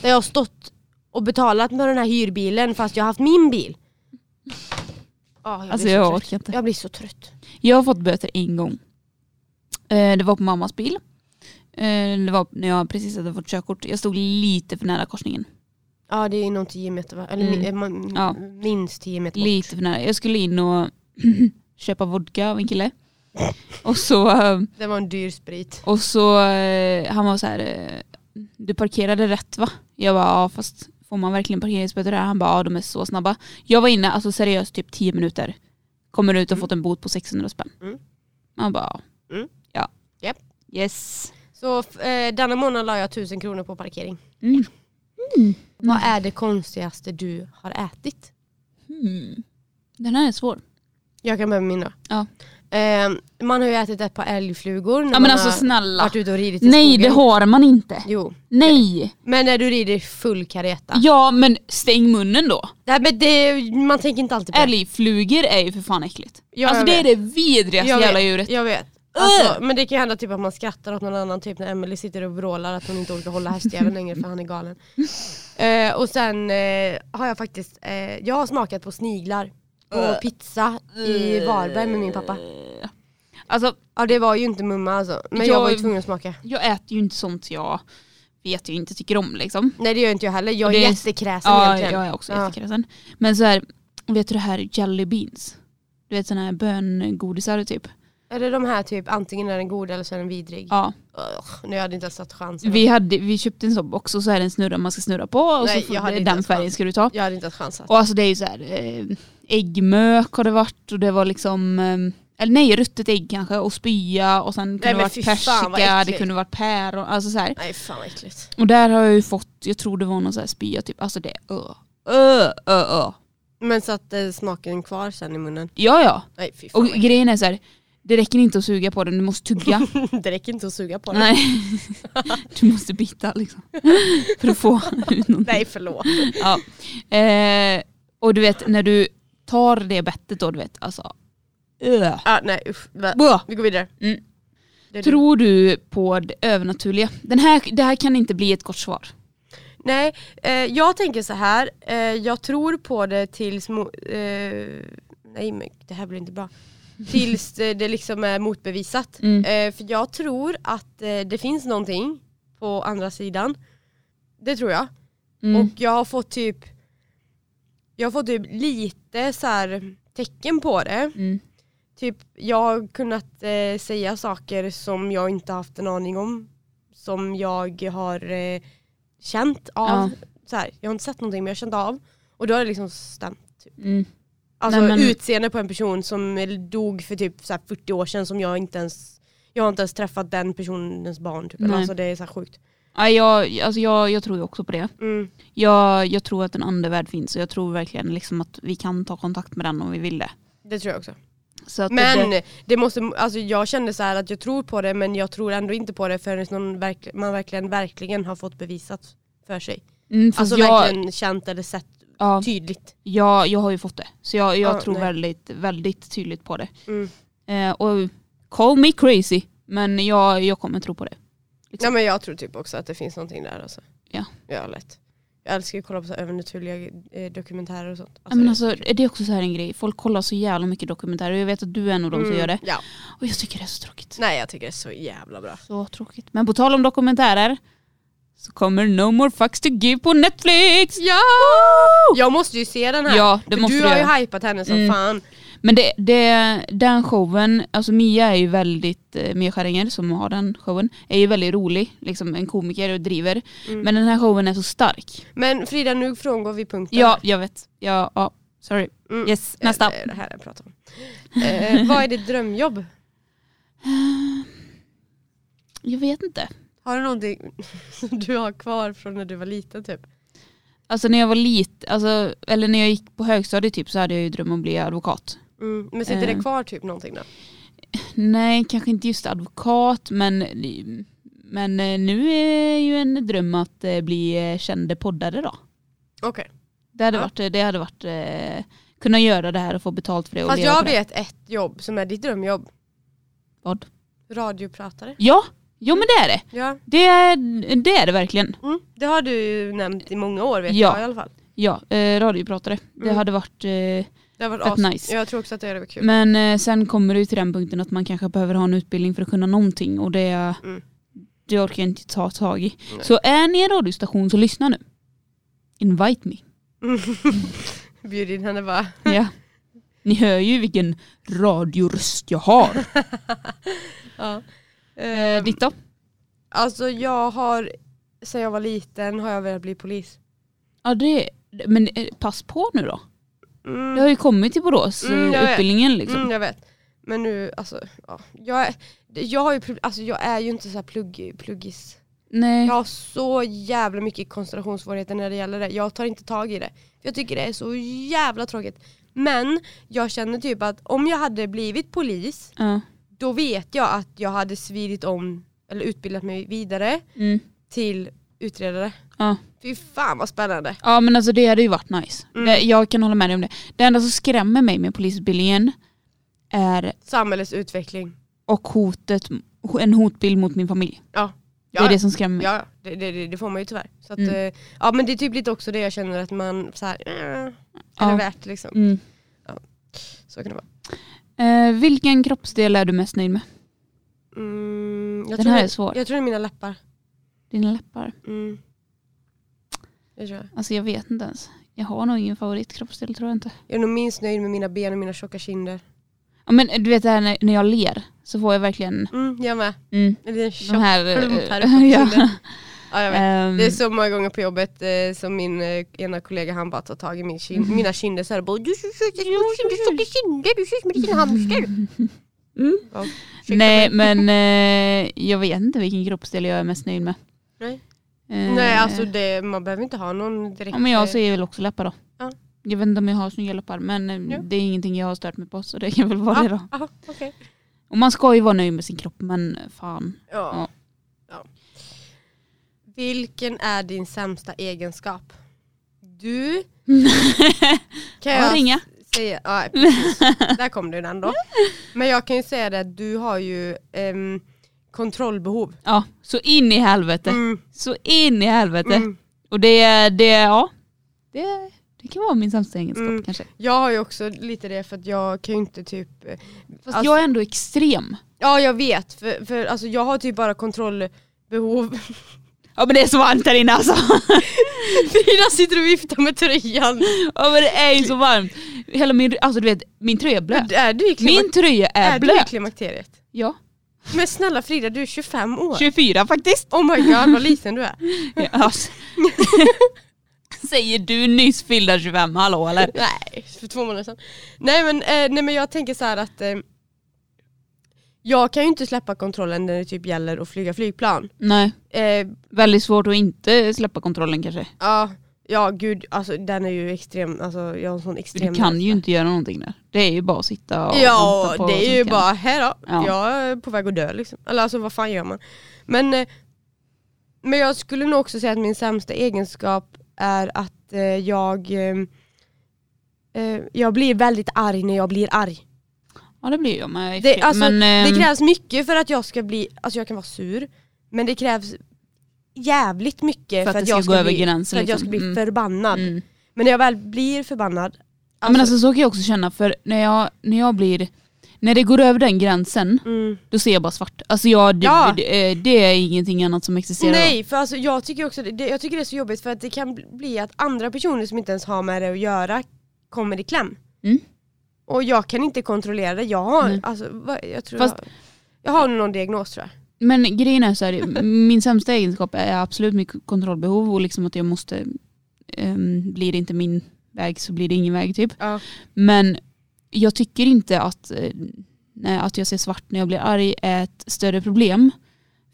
S2: Där jag har stått och betalat med den här hyrbilen fast jag har haft min bil. Ah, jag
S1: Alltså
S2: blir så
S1: jag
S2: trött.
S1: orkar inte.
S2: Jag blir så trött.
S1: Jag har fått böter en gång. Eh, Det var på mammas bil. Eh, Det var när jag precis hade fått körkort. Jag stod lite för nära korsningen.
S2: Ja det är inom 10 meter va? Eller
S1: Mm.
S2: mi- eh, man-
S1: Ja.
S2: minst 10 meter bort.
S1: Lite för nära. Jag skulle in och köpa vodka av en kille. Och så, eh,
S2: Det var en dyr sprit.
S1: och så eh, han var så här, eh, du parkerade rätt va? Jag bara, ja fast får man verkligen parkeringsböter här? Han bara, ja de är så snabba. Jag var inne, alltså seriöst typ 10 minuter. Kommer ut och fått en bot på 600 spänn.
S2: Mm.
S1: Han bara, ja.
S2: Mm.
S1: ja.
S2: Japp.
S1: Yes.
S2: Så f- eh, denna månad la jag 1000 kronor på parkering.
S1: Mm.
S2: Vad är det konstigaste du har ätit?
S1: Hmm. Den här är svår.
S2: Jag kan börja med min då.
S1: Ja.
S2: Ehm, man har ju ätit ett par älgflugor när
S1: Ja
S2: man
S1: men alltså
S2: har
S1: snälla.
S2: varit ute och ridit i
S1: Nej det
S2: skogen.
S1: har man inte.
S2: Jo,
S1: Nej.
S2: men när du rider full kareta.
S1: Ja men stäng munnen då.
S2: Nej, men det, man tänker inte alltid på det.
S1: Älgflugor är ju för fan äckligt.
S2: Ja,
S1: alltså
S2: jag
S1: det är
S2: vet.
S1: det vidrigaste
S2: Jag
S1: jävla
S2: vet,
S1: djuret.
S2: Jag vet. Alltså, men det kan ju hända typ att man skrattar åt någon annan, typ när Emily sitter och vrålar att hon inte orkar hålla hästjäveln längre för han är galen. Eh, och sen eh, har jag faktiskt, eh, jag har smakat på sniglar på pizza i Varberg med min pappa.
S1: Alltså
S2: Ja det var ju inte mumma alltså, men jag,
S1: Jag-
S2: var ju tvungen att smaka.
S1: jag äter ju inte sånt jag vet jag inte tycker om liksom.
S2: Nej det gör inte jag heller, jag är
S1: Det är-
S2: jättekräsen
S1: Ja
S2: egentligen.
S1: jag är också
S2: Ja.
S1: jättekräsen. Men så här, vet du det här jelly beans? Du vet såna här böngodisar typ.
S2: Är det de här typ, antingen är den god eller så är den vidrig?
S1: Ja.
S2: Ugh, nu hade jag inte ens satt chansen.
S1: Vi, hade, vi köpte en sån box och så är det en snurra man ska snurra på och
S2: Nej,
S1: så får,
S2: jag hade
S1: det-
S2: inte
S1: den
S2: ens
S1: färgen
S2: chans.
S1: ska du ta.
S2: Jag hade inte ens chansat.
S1: Och alltså det är ju så här, eh, äggmök har det varit och det var liksom, eh, eller nej ruttet ägg kanske och spya och sen kunde
S2: Nej,
S1: det
S2: men
S1: varit
S2: fy fan, vad
S1: persika, det
S2: äckligt.
S1: kunde varit päron, alltså så här.
S2: Nej fan vad äckligt.
S1: Och där har jag ju fått, jag tror det var någon så här spya typ, alltså det, ö, ö, ö, ö.
S2: Men satt eh, smaken kvar sen i munnen?
S1: Ja ja,
S2: Nej fy fan.
S1: och grejen är så här, det räcker inte att suga på den, du måste tugga.
S2: det räcker inte att suga på den. Nej,
S1: nej, du måste bita liksom. För att få ut någonting.
S2: förlåt.
S1: Ja. Eh, och du vet när du tar det bettet då, du vet alltså, ö.
S2: Ah, nej usch. Va-
S1: Bå.
S2: Vi går vidare.
S1: Mm.
S2: Det är du.
S1: Tror du på det övernaturliga? Den här, det här kan inte bli ett kort svar.
S2: Nej, eh, jag tänker så här. Eh, jag tror på det tills... Mo- eh, nej men det här blir inte bra. Tills det, det liksom är motbevisat.
S1: Mm.
S2: Eh, för jag tror att eh, det finns någonting på andra sidan. Det tror jag.
S1: Mm.
S2: Och jag har fått typ Jag har fått typ lite så här tecken på det.
S1: Mm.
S2: Typ jag har kunnat eh, säga saker som jag inte haft en aning om. Som jag har eh, känt av. Så här, jag har inte sett någonting men jag har känt av. Och då har det liksom stämt. Typ.
S1: Mm.
S2: Alltså
S1: Nej, men-
S2: utseende på en person som dog för typ så här 40 år sedan som jag inte ens jag har inte ens träffat den personens barn. Typ.
S1: Nej.
S2: Alltså, det är så här sjukt.
S1: Ja, jag, alltså jag, jag tror ju också på det.
S2: Mm.
S1: Jag, jag tror att en andevärld finns och jag tror verkligen liksom att vi kan ta kontakt med den om vi vill det.
S2: Det tror jag också.
S1: Så att det,
S2: Men det måste, alltså jag kände så här att jag tror på det men jag tror ändå inte på det förrän någon verk, man verkligen, verkligen har fått bevisat för sig.
S1: mm, fast
S2: Alltså
S1: jag,
S2: verkligen känt eller sett
S1: ja,
S2: tydligt.
S1: jag, jag har ju fått det. Så jag, jag
S2: Ja,
S1: tror
S2: nej.
S1: väldigt, väldigt tydligt på det.
S2: Mm. Alltså,
S1: Eh, och call me crazy men jag, jag kommer tro på det. Liksom.
S2: Nej men jag tror typ också att det finns någonting där alltså.
S1: Ja.
S2: Ja lätt. Jag älskar ju att kolla på så här övernaturliga eh, dokumentärer och sånt.
S1: Ja, men alltså, är det är också så här en grej, folk kollar så jävla mycket dokumentärer och jag vet att du är en av dem
S2: alltså,
S1: som gör det.
S2: mm, Ja.
S1: Och jag tycker det är så tråkigt.
S2: Nej jag tycker det är så jävla bra.
S1: Så tråkigt. Men på tal om dokumentärer så kommer No More Fucks To Give på Netflix!
S2: Ja! Jag måste ju se den här.
S1: Ja, det
S2: För
S1: måste
S2: du
S1: du
S2: har ju
S1: göra.
S2: hypat henne som
S1: Mm.
S2: fan.
S1: Men det, det, den showen, alltså Mia är ju väldigt, eh, Mia Skäringer som har den showen, är ju väldigt rolig, liksom en komiker och driver.
S2: Mm.
S1: Men den här showen är så stark.
S2: Men Frida nu frångår vi punkten.
S1: Ja, jag vet. Ja, ja. sorry.
S2: Mm.
S1: Yes,
S2: Eh,
S1: nästa.
S2: Det är det här jag pratar om. Eh, vad är ditt drömjobb?
S1: Jag vet inte.
S2: Har du någonting som du har kvar från när du var liten typ?
S1: Alltså när jag var liten, alltså, eller när jag gick på högstadiet typ så hade jag ju dröm om att bli advokat.
S2: Mm. Men sitter
S1: Eh.
S2: det kvar typ någonting då?
S1: Nej, kanske inte just advokat men, men eh, nu är ju en dröm att eh, bli eh, kände poddare då.
S2: Okej.
S1: Det hade
S2: Ja.
S1: varit, det hade varit eh, kunna göra det här och få betalt för det. Och
S2: Fast
S1: leva
S2: jag
S1: på det.
S2: vet ett jobb som är ditt drömjobb.
S1: Vad?
S2: Radiopratare.
S1: Ja, jo men det är det.
S2: Ja.
S1: Det är det, är det verkligen.
S2: Mm. Det har du ju nämnt i många år vet
S1: Ja.
S2: jag i alla fall.
S1: Ja, eh, radiopratare. Det
S2: Mm.
S1: hade varit... Eh,
S2: Det har varit
S1: Fett
S2: as-
S1: nice.
S2: Jag tror också att det hade varit kul.
S1: men eh, sen kommer det ju till den punkten att man kanske behöver ha en utbildning för att kunna någonting och det,
S2: Mm.
S1: det orkar jag inte ta tag i.
S2: Nej.
S1: Så är ni en radiostation så lyssna nu. Invite me. Mm.
S2: Bjud in henne bara.
S1: Ja. Ni hör ju vilken radioröst jag har.
S2: Ja.
S1: Eh,
S2: Eh,
S1: Ditt då?
S2: alltså jag har, sen jag var liten har jag velat bli polis.
S1: Ja, det, men eh, pass på nu då.
S2: Mm.
S1: Det har ju kommit till Borås,
S2: Mm,
S1: eh,
S2: jag vet.
S1: utbildningen liksom.
S2: Mm, jag vet. Men nu, alltså, ja. jag, är- jag, har ju, prob- alltså, jag är ju inte så här plugg, pluggis.
S1: Nej.
S2: Jag har så jävla mycket koncentrationssvårigheter när det gäller det. Jag tar inte tag i det. Jag tycker det är så jävla tråkigt. Men jag känner typ att om jag hade blivit polis,
S1: Ja.
S2: då vet jag att jag hade svidit om, eller utbildat mig vidare
S1: Mm.
S2: till utredare.
S1: Ja.
S2: Fy fan vad spännande.
S1: ja men alltså det hade ju varit nice.
S2: Mm.
S1: Det, jag kan hålla med dig om det. Det enda som skrämmer mig med polisutbildningen är
S2: Samhällets utveckling.
S1: och hotet, en hotbild mot min familj.
S2: Ja.
S1: Det är det som skrämmer mig.
S2: Ja, det, det, det, det får man ju tyvärr. Så att,
S1: Mm.
S2: eh, ja, men det är typ lite också det jag känner att man så här, eh, är
S1: Ja.
S2: det värt liksom?
S1: Mm.
S2: Så kan det vara.
S1: Eh, vilken kroppsdel är du mest nöjd med?
S2: Mm, jag,
S1: Den
S2: tror
S1: här
S2: det,
S1: är svår.
S2: jag tror det är mina läppar.
S1: Dina läppar?
S2: Mm. Det tror jag.
S1: Alltså jag vet inte ens. Jag har nog ingen favoritkroppsdel tror jag inte.
S2: jag är nog minst nöjd med mina ben och mina tjocka kinder.
S1: Ja, men du vet det här när, när jag ler så får jag verkligen
S2: Mm, jag med.
S1: mm,
S2: En liten
S1: de
S2: tjock
S1: här... eh,
S2: plump här uppe på
S1: ja.
S2: kinden. Ja, jag vet.
S1: Ehm,
S2: Det är så många gånger på jobbet eh, som min eh, ena kollega han bara tar tag i min
S1: Mm.
S2: kin- mina kinder såhär och bara du ser ut som en tjock kinder, du ser ut som en liten hamster.
S1: Mm.
S2: Ja, ursäkta
S1: Nej
S2: mig.
S1: men eh, jag vet inte vilken kroppsdel jag är mest nöjd med.
S2: Nej.
S1: Eh,
S2: Nej alltså det, man behöver inte ha någon direkt.
S1: ja, men jag
S2: eh,
S1: säger väl också läppar då.
S2: Ja.
S1: Jag vet inte om jag har snygga läppar men eh,
S2: Ja.
S1: det är ingenting jag har stört mig på så det kan väl vara
S2: Ja.
S1: det då.
S2: Ah, Aha, okej.
S1: Och man ska ju vara nöjd med sin kropp men fan. Ja.
S2: ja. Ja. Vilken är din sämsta egenskap? Du kan
S1: Ja,
S2: jag
S1: ringa.
S2: säga, ja, precis. där kom du den då. Men jag kan ju säga det att du har ju ehm, kontrollbehov.
S1: Ja, så in i helvete.
S2: Mm,
S1: Så in i helvete.
S2: mm.
S1: Och det, det, ja. Det, det kan vara min sämsta egenskap
S2: Mm.
S1: kanske.
S2: Jag har ju också lite det för att jag kan ju inte typ eh,
S1: Fast
S2: Alltså-
S1: jag är ändå extrem.
S2: Ja jag vet, för, för alltså, jag har typ bara kontrollbehov.
S1: Ja men det är så varmt här inne alltså.
S2: Frida sitter och viftar med tröjan.
S1: Ja men det är ju så varmt. Hela min, alltså du vet, min tröja är blöt.
S2: Är du i, klima-
S1: Min tröja är
S2: är du i
S1: blöt.
S2: klimakteriet?
S1: Ja,
S2: Men snälla Frida, du är 25 år.
S1: 24 faktiskt.
S2: Oh my god vad liten du är.
S1: Ja, alltså. Säger du nyss fyllda 25, hallå eller?
S2: Nej, för två månader sedan. Nej men, eh, nej, men jag tänker så här att eh, jag kan ju inte släppa kontrollen när det typ gäller att flyga flygplan.
S1: Nej,
S2: Eh,
S1: väldigt svårt att inte släppa kontrollen kanske.
S2: ja, ja gud, alltså, den är ju extrem, alltså, jag har en sån extrem
S1: Du kan ju
S2: rädsla.
S1: inte göra någonting där. Det är ju bara att sitta och
S2: Ja,
S1: vänta på
S2: det är ju
S1: saken.
S2: bara här då.
S1: Ja.
S2: Jag är på väg att dö liksom. Eller alltså vad fan gör man? Men, eh, men jag skulle nog också säga att min sämsta egenskap är att eh, jag eh, eh, jag blir väldigt arg när jag blir arg.
S1: Ja det blir jag med.
S2: Det, alltså,
S1: men,
S2: det
S1: ehm,
S2: krävs mycket för att jag ska bli, alltså jag kan vara sur, Men det krävs jävligt mycket
S1: För att det ska
S2: jag
S1: gå över
S2: bli,
S1: gränsen,
S2: För att jag
S1: liksom.
S2: ska bli
S1: Mm.
S2: förbannad.
S1: Mm.
S2: Men när jag väl blir förbannad,
S1: Ja, Men alltså så kan jag också känna för när jag, när jag blir, när det går över den gränsen
S2: mm.
S1: då ser jag bara svart. Alltså jag, det,
S2: Ja.
S1: det, eh, det är ingenting annat som existerar.
S2: Nej för alltså, jag tycker också det, jag tycker det är så jobbigt för att det kan bli- bli att andra personer som inte ens har med det att göra kommer i kläm.
S1: Mm.
S2: Och jag kan inte kontrollera det. Jag har,
S1: Nej.
S2: alltså, vad, jag, tror
S1: Fast-
S2: jag, jag har nog någon diagnos tror jag.
S1: Men grejen är så här, min sämsta egenskap är absolut mitt kontrollbehov och liksom att jag måste, ehm, blir det inte min väg så blir det ingen väg typ.
S2: Ja.
S1: Men jag tycker inte att, eh, nej, att jag ser svart när jag blir arg är ett större problem.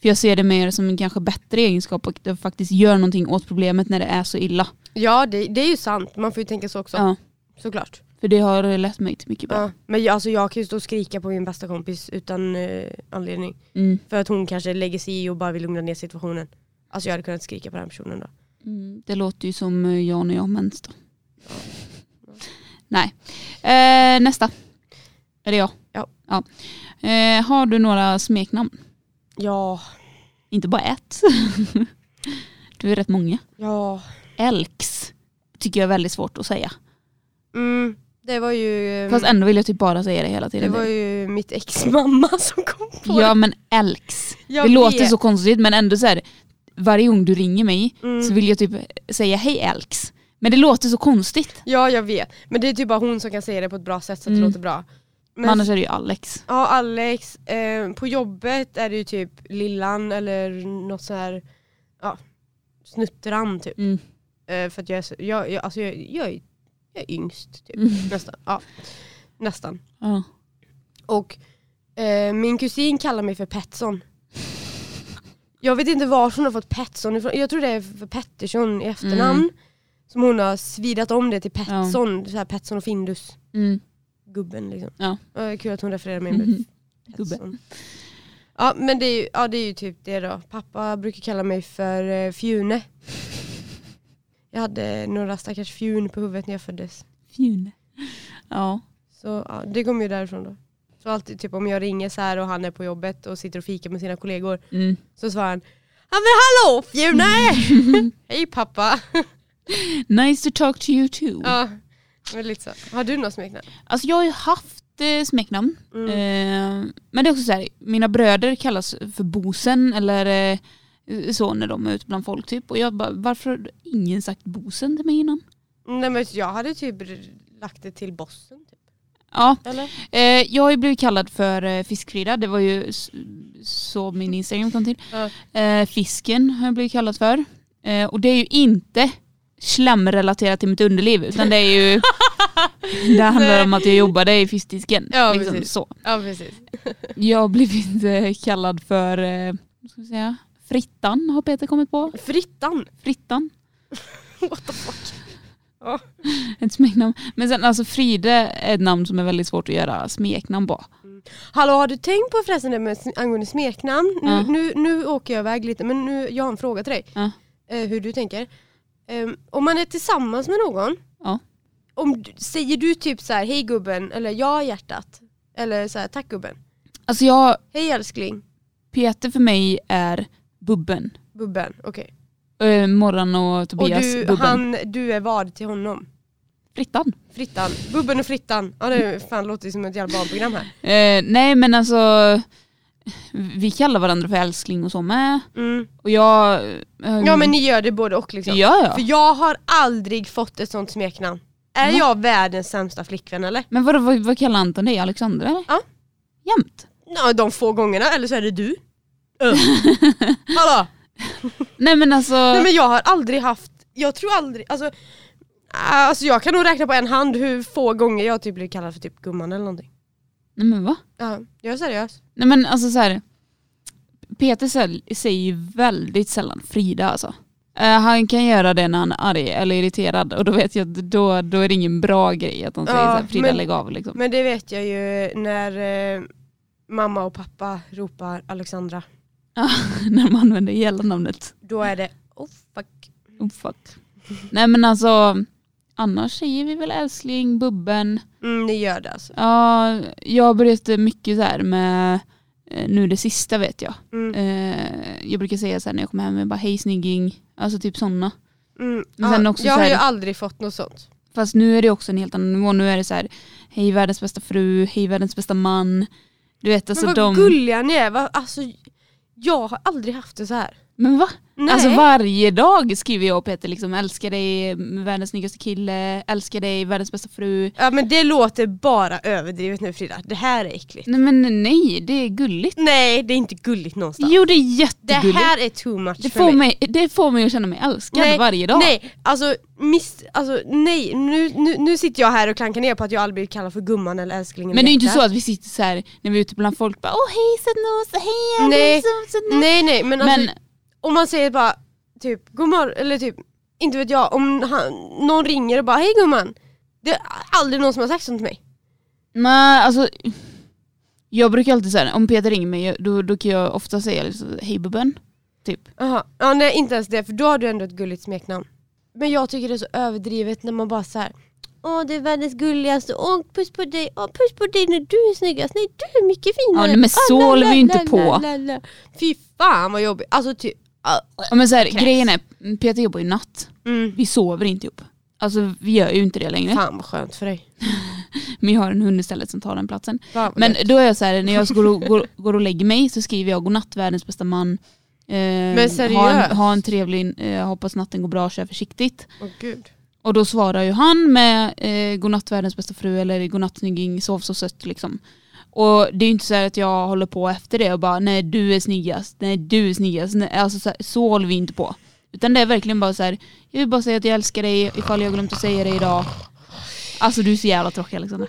S1: För jag ser det mer som en kanske bättre egenskap och det faktiskt gör någonting åt problemet när det är så illa.
S2: Ja det, det är ju sant, man får ju tänka så också.
S1: Ja,
S2: Såklart.
S1: för det har lett mig till mycket bra.
S2: Ja. Men jag, alltså, jag kan ju stå och skrika på min bästa kompis utan eh, anledning.
S1: Mm.
S2: För att hon kanske lägger sig i och bara vill lugna ner situationen. Alltså jag hade kunnat skrika på den personen då.
S1: Mm, det låter ju som eh, jag när jag har mens då. Nej. Eh, nästa. Är det jag?
S2: Ja.
S1: Eh, har du några smeknamn?
S2: Ja,
S1: Inte bara ett. du är rätt många.
S2: ja.
S1: Elks tycker jag är väldigt svårt att säga.
S2: Mm, det var ju... eh,
S1: Fast ändå vill jag typ bara säga det hela
S2: Det
S1: tiden.
S2: var ju mitt ex mamma som kom på
S1: Ja men elks.
S2: Jag
S1: det
S2: vet.
S1: låter så konstigt men ändå så här. Varje gång du ringer mig
S2: Mm.
S1: så vill jag typ säga hej elks. Men det låter så konstigt.
S2: Ja jag vet, men det är typ bara hon som kan säga det på ett bra sätt så att
S1: Mm.
S2: det låter bra.
S1: Men
S2: Men,
S1: annars är det ju Alex.
S2: Ja Alex, eh, på jobbet är det ju typ Lillan eller något så här ja, snuttran typ.
S1: Mm.
S2: Eh, för att jag är, så, jag, jag, alltså jag, jag, är, jag är yngst typ.
S1: Mm.
S2: Nästan. Ja. Nästan.
S1: Ja.
S2: Och eh, min kusin kallar mig för Petson. Jag vet inte var hon har fått Petson ifrån. Jag tror det är för Pettersson i efternamn.
S1: Mm.
S2: Som hon har svidat om det till Petson. Så här Petson och Findus.
S1: Mm.
S2: Gubben liksom.
S1: Ja. Mm-hmm.
S2: Eh, kul att hon refererar mig med
S1: Gubbe.
S2: Petson. Ja men det är, ju, ja, det är ju typ det då. Pappa brukar kalla mig för eh, Fjune. Jag hade några stackars fjun på huvudet när jag föddes.
S1: Fjun. Ja.
S2: Så ja, det kommer ju därifrån då. Så alltid typ om jag ringer så här och han är på jobbet och sitter och fikar med sina kollegor
S1: Mm.
S2: så svarar han Ja men hallå Fjune! Hej pappa!
S1: Nice to talk to you too.
S2: ja, men lite så. Har du något smeknamn?
S1: Alltså jag har ju haft eh, smeknamn.
S2: Mm.
S1: Eh, men det är också så här, mina bröder kallas för bosen eller eh, så när de är ute bland folk typ. Och jag bara, varför har ingen sagt bosen till mig innan?
S2: Nej men jag hade typ r- lagt det till bossen. Typ.
S1: Ja,
S2: Eller?
S1: eh, jag har ju blivit kallad för eh, Fiskfrida, det var ju s- så min Instagram kom till.
S2: Ja.
S1: Eh, fisken har jag blivit kallad för. Eh, och det är ju inte slamrelaterat till mitt underliv utan det är ju det handlar
S2: Nej.
S1: om att jag jobbade i fiskdisken.
S2: Ja,
S1: liksom,
S2: precis.
S1: så.
S2: Ja precis.
S1: Jag har blivit eh, kallad för eh, vad ska vi säga, Frittan har Peter kommit på.
S2: Frittan!
S1: Frittan,
S2: What the fuck? Ja.
S1: ett smeknamn. Men sen alltså Fride är ett namn som är väldigt svårt att göra smeknamn på.
S2: Hallå har du tänkt på förresten det med sn- angående smeknamn? Nu,
S1: Ja.
S2: nu, nu åker jag iväg lite men nu, jag har en fråga till dig.
S1: Ja.
S2: Eh, hur du tänker. Ehm, om man är tillsammans med någon.
S1: Ja.
S2: Om, du- säger du typ så här hej gubben eller ja hjärtat. Eller så här tack gubben.
S1: Alltså jag,
S2: Hej älskling.
S1: Peter för mig är Bubben.
S2: Bubben. Okej.
S1: Eh, Morran och
S2: Och
S1: Tobias
S2: du,
S1: Bubben.
S2: han, du är vad till honom?
S1: Frittan.
S2: Frittan. Bubben och Frittan. Ja det fan låter ju som ett jävla barnprogram här.
S1: Eh, nej men alltså vi kallar varandra för älskling och så med.
S2: Mm.
S1: Och jag... eh,
S2: Ja men ni gör det både och liksom.
S1: Ja
S2: För
S1: ja.
S2: jag har aldrig fått ett sånt smeknamn. Är
S1: Va?
S2: jag världens sämsta flickvän eller?
S1: Men vad, vad, vad kallar Anton dig? Alexandra eller?
S2: Ja.
S1: Jämt.
S2: Ja, de få gångerna, eller så är det du. Öh. Hallå!
S1: Nej men alltså...
S2: Nej men jag har aldrig haft, jag tror aldrig, alltså, äh, alltså jag kan nog räkna på en hand hur få gånger jag typ blir kallad för typ gumman eller någonting.
S1: nej men va?
S2: Ja, jag är seriös.
S1: Nej men alltså så här. Peter säl- säger ju väldigt sällan Frida alltså. Eh, han kan göra det när han är arg eller irriterad och då vet jag att då, då är det ingen bra grej att han säger
S2: Ja,
S1: så här, Frida
S2: men-
S1: lägg av liksom.
S2: Men det vet jag ju när eh, mamma och pappa ropar Alexandra.
S1: Ja, när man använder hela namnet.
S2: Då är det oh fuck.
S1: Oh, fuck. Nej men alltså annars säger vi väl älskling, bubben.
S2: Mm, ni gör det alltså.
S1: Ja, jag har börjat mycket så här med eh, nu det sista vet jag.
S2: Mm.
S1: Eh, jag brukar säga så här när jag kommer hem, jag bara hej snygging. Alltså typ sådana.
S2: Mm.
S1: Men sen
S2: Ja,
S1: också
S2: jag
S1: så
S2: har
S1: här-
S2: ju aldrig fått något sånt.
S1: Fast nu är det också en helt annan nivå. Nu är det så här, hej världens bästa fru, hej världens bästa man. Du vet alltså
S2: men vad
S1: de...
S2: gulliga ni är. Vad, alltså, jag har aldrig haft det så här.
S1: Men va?
S2: Nej.
S1: Alltså varje dag skriver jag och Peter liksom älskar dig, världens snyggaste kille, älskar dig, världens bästa fru.
S2: ja, men det låter bara överdrivet nu Frida. Det här är äckligt.
S1: Nej men nej, det är gulligt.
S2: Nej det är inte gulligt någonstans.
S1: Jo det är
S2: det
S1: jättegulligt. Det,
S2: här är too much för
S1: får, mig, det får mig att känna mig älskad varje dag.
S2: Nej, alltså, miss, alltså nej, nu, nu, nu sitter jag här och klankar ner på att jag aldrig blir kallad för gumman eller älsklingen.
S1: Men det är ju inte
S2: Hjärta.
S1: så att vi sitter så här när vi är ute bland folk bara åh hej sötnos, hej Alice,
S2: Nej,
S1: åh, sötnos."
S2: Nej nej men, alltså,
S1: Men
S2: om man säger bara typ gumman eller typ inte vet jag om han, någon ringer och bara hej gumman. Det är aldrig någon som har sagt sånt till mig.
S1: nej, alltså jag brukar alltid säga om Peter ringer mig då, då kan jag ofta säga liksom, hej bubben. Typ.
S2: Aha. Ja nej inte ens det för då har du ändå ett gulligt smeknamn. Men jag tycker det är så överdrivet när man bara så här. Åh du är världens gulligaste, åh puss på dig, åh puss på dig när du är snyggast, nej du är mycket
S1: Ja,
S2: finare.
S1: nej, men
S2: Åh,
S1: så
S2: la,
S1: håller
S2: la,
S1: vi ju inte
S2: la,
S1: på.
S2: la, la, la. Fy fan vad jobbigt, alltså typ. ah,
S1: Ja, men så här,
S2: Kräks.
S1: grejen är, Peter jobbar ju natt.
S2: Mm.
S1: Vi sover inte ihop. Alltså vi gör ju inte det längre.
S2: Fan vad skönt för dig.
S1: Men jag har en hund istället som tar den platsen.
S2: Fan, vad
S1: Men
S2: gött.
S1: då är jag så här, när jag går och, går, går och lägger mig så skriver jag godnatt världens bästa man. Eh, ha, en,
S2: seriöst?
S1: ha en trevlig, eh, hoppas natten går bra, kör försiktigt.
S2: Åh, gud.
S1: Och då svarar ju han med eh, godnatt världens bästa fru eller godnatt snygging, sov så sött liksom. Och det är ju inte så här att jag håller på efter det och bara nej du är snyggast, nej du är snyggast. Nej, alltså så, här, så håller vi inte på. Utan det är verkligen bara så här, jag vill bara säga att jag älskar dig ifall jag glömt att säga det idag. Alltså du är så jävla tråkig Alexander.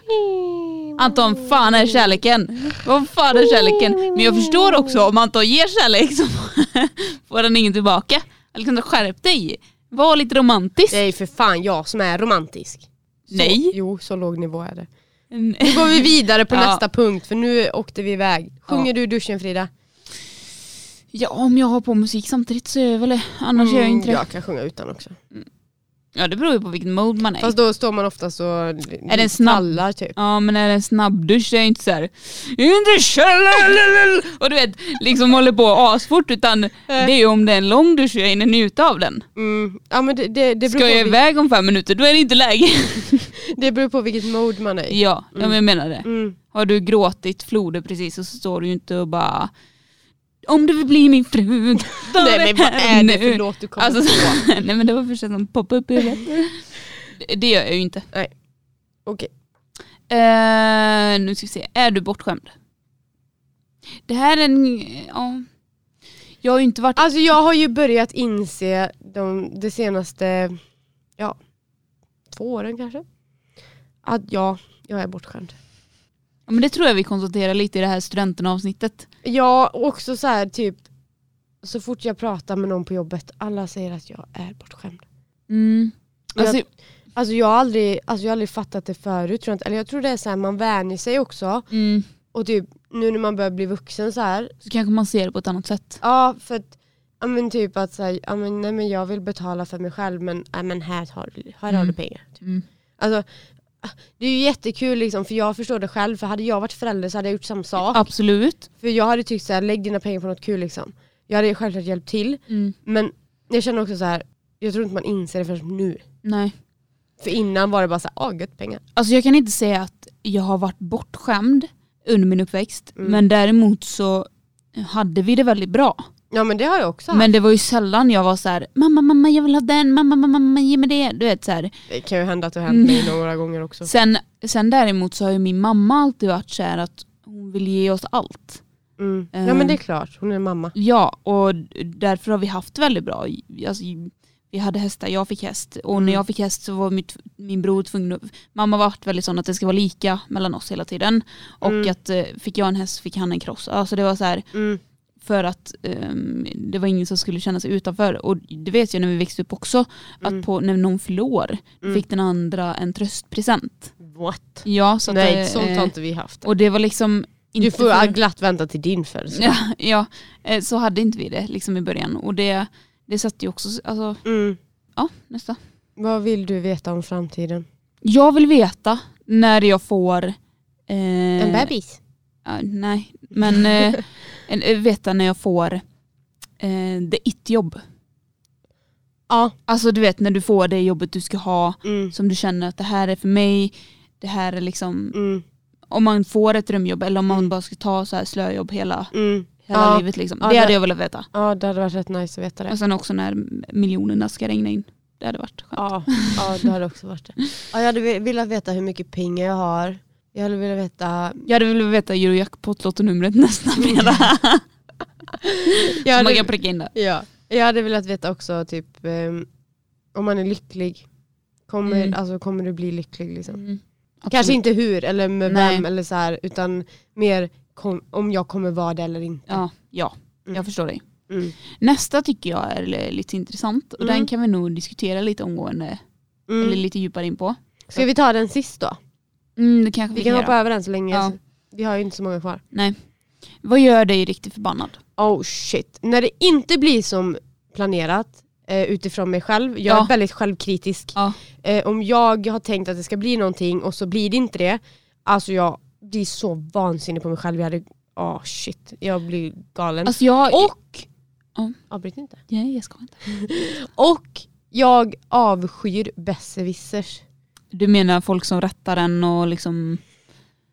S1: Anton, fan är kärleken? Vad fan är kärleken? Men jag förstår också om Anton ger kärlek så får han ingen tillbaka. Alexander skärp dig! Var lite romantisk.
S2: Det är ju för fan jag som är romantisk. Så,
S1: Nej.
S2: Jo, så låg nivå är det.
S1: Nej.
S2: Nu går vi vidare på
S1: Ja.
S2: nästa punkt för nu åkte vi iväg. Sjunger
S1: Ja.
S2: du i duschen Frida?
S1: Ja om jag har på musik samtidigt så är jag väl det. Annars gör jag inte det. Ja.
S2: Mm, Jag kan sjunga utan också.
S1: det beror ju på vilken mode man är i.
S2: Fast då står man oftast och
S1: Är det en snabb-
S2: trallar typ.
S1: Ja men är det en snabbdusch så är jag inte såhär Inte kärlek! Och du vet liksom håller på asfort utan det är ju om det är en lång dusch jag hinner njuta av den.
S2: Mm. Ja, men Eh. det, det, det, beror
S1: Ska jag
S2: på vil-
S1: iväg om fem minuter då är det inte läge.
S2: det beror på vilket mode man är i.
S1: Ja, ja men jag menar det.
S2: Mm.
S1: Har du gråtit floder precis och så står du ju inte och bara Om du vill bli min fru. då
S2: Nej men vad är det för
S1: nu."
S2: låt du kommer
S1: Alltså,
S2: på?
S1: nej men det var första som poppade upp i huvudet. Det- Det gör jag ju inte.
S2: Okej.
S1: Eh, nu ska vi se, är du bortskämd? Det här är en... Ja. Jag har ju inte varit...
S2: Alltså jag har ju börjat inse de, de senaste ja, två åren kanske. Att ja, jag är bortskämd.
S1: Ja, men det tror jag vi konstaterar lite i det här studentenavsnittet.
S2: Ja, och också så här typ så fort jag pratar med någon på jobbet, alla säger att jag är bortskämd.
S1: Mm.
S2: Jag-
S1: Alltså,
S2: Alltså jag har aldrig, alltså jag har aldrig fattat det förut, tror jag inte. eller jag tror det är så här man vänjer sig också.
S1: mm,
S2: Och typ nu när man börjar bli vuxen så här.
S1: så kanske man ser det på ett annat sätt.
S2: ja för att, ja men typ att så här, ja men nej men jag vill betala för mig själv men, ja men här har, du- här har
S1: Mm.
S2: du pengar. Typ.
S1: Mm.
S2: Alltså, det är ju jättekul liksom, för jag förstår det själv, för hade jag varit förälder så hade jag gjort samma sak.
S1: Absolut.
S2: För jag hade tyckt så här, lägg dina pengar på något kul liksom. Jag hade självklart hjälpt till,
S1: Mm.
S2: men jag känner också så här. jag tror inte man inser det förrän nu.
S1: Nej.
S2: För innan var det bara så här, ah gött pengar.
S1: Alltså jag kan inte säga att jag har varit bortskämd under min uppväxt.
S2: Mm.
S1: Men däremot så hade vi det väldigt bra.
S2: Ja men det har jag också haft.
S1: Men det var ju sällan jag var så här: mamma, mamma, jag vill ha den, mamma, mamma, mamma, ge mig det. Du vet så här.
S2: Det kan ju hända att det har hänt mig
S1: Mm.
S2: några gånger också.
S1: Sen, sen däremot så har ju min mamma alltid varit så här att hon vill ge oss allt.
S2: Mm. Ja
S1: Eh.
S2: men det är klart, hon är mamma.
S1: Ja, och därför har vi haft väldigt bra. Alltså, vi hade hästar, jag fick häst. Och
S2: Mm.
S1: när jag fick häst så var mitt, min bror tvungen att... Mamma har varit väldigt sån att det ska vara lika mellan oss hela tiden. Och
S2: Mm.
S1: att eh, fick jag en häst fick han en kross. Alltså det var så här,
S2: Mm.
S1: för att ehm, det var ingen som skulle känna sig utanför. Och det vet jag när vi växte upp också,
S2: Mm.
S1: att på, när någon förlor
S2: Mm.
S1: fick den andra en tröstpresent.
S2: What?
S1: Ja, så att,
S2: Nej
S1: eh,
S2: sånt har
S1: eh,
S2: inte vi haft.
S1: Och det var liksom
S2: Du
S1: inte
S2: får
S1: för-
S2: glatt vänta till din födelse.
S1: Ja, ja, eh, så hade inte vi det liksom i början. Och det, det satt ju också, alltså,
S2: Mm.
S1: ja nästa.
S2: Vad vill du veta om framtiden?
S1: Jag vill veta när jag får eh,
S2: En bebis?
S1: ja, nej, men eh, en- eh, veta när jag får eh, det it-jobb.
S2: Ja.
S1: Alltså du vet när du får det jobbet du ska ha
S2: Mm.
S1: som du känner att det här är för mig. Det här är liksom,
S2: Mm.
S1: om man får ett drömjobb eller om man
S2: Mm.
S1: bara ska ta så här slöjobb hela,
S2: Mm.
S1: hela
S2: Ja.
S1: livet. Liksom.
S2: Ja,
S1: det hade
S2: det-
S1: jag velat veta.
S2: Ja det hade varit rätt nice att veta det.
S1: Och sen också när miljonerna ska regna in. Det hade varit skönt.
S2: Ja, ja det hade också varit det. Ja, jag hade ve- velat veta hur mycket pengar jag har. Jag hade velat veta...
S1: Jag hade velat veta Eurojackpot-lottonumret nästa
S2: Mm.
S1: fredag.
S2: Jag
S1: Så man
S2: hade,
S1: kan pricka in det.
S2: ja, jag hade velat veta också typ ehm, om man är lycklig. Kommer,
S1: Mm.
S2: alltså, kommer du bli lycklig liksom? Kanske
S1: Absolut.
S2: inte hur eller med
S1: Nej.
S2: vem eller så här, utan mer kom, om jag kommer vara det eller inte.
S1: Ja, ja.
S2: Mm.
S1: jag förstår dig.
S2: Mm.
S1: Nästa tycker jag är li- lite intressant och
S2: Mm.
S1: den kan vi nog diskutera lite omgående eller
S2: Mm.
S1: lite djupare in på.
S2: Ska vi ta den sist då?
S1: Mm, det kanske vi,
S2: Vi kan
S1: kan
S2: hoppa
S1: göra.
S2: över den så länge.
S1: Ja.
S2: Vi har ju inte så många kvar.
S1: Nej. Vad gör dig riktigt förbannad?
S2: Oh shit. När det inte blir som planerat eh, utifrån mig själv, jag
S1: Ja.
S2: är väldigt självkritisk.
S1: Ja.
S2: Eh, om jag har tänkt att det ska bli någonting och så blir det inte det, alltså jag blir så vansinnig på mig själv. Jag hade, oh shit, jag blir galen.
S1: Alltså jag...
S2: och,
S1: Ja.
S2: avbryt inte.
S1: Nej jag ska inte.
S2: Och jag avskyr besserwissers.
S1: Du menar folk som rättar en och liksom,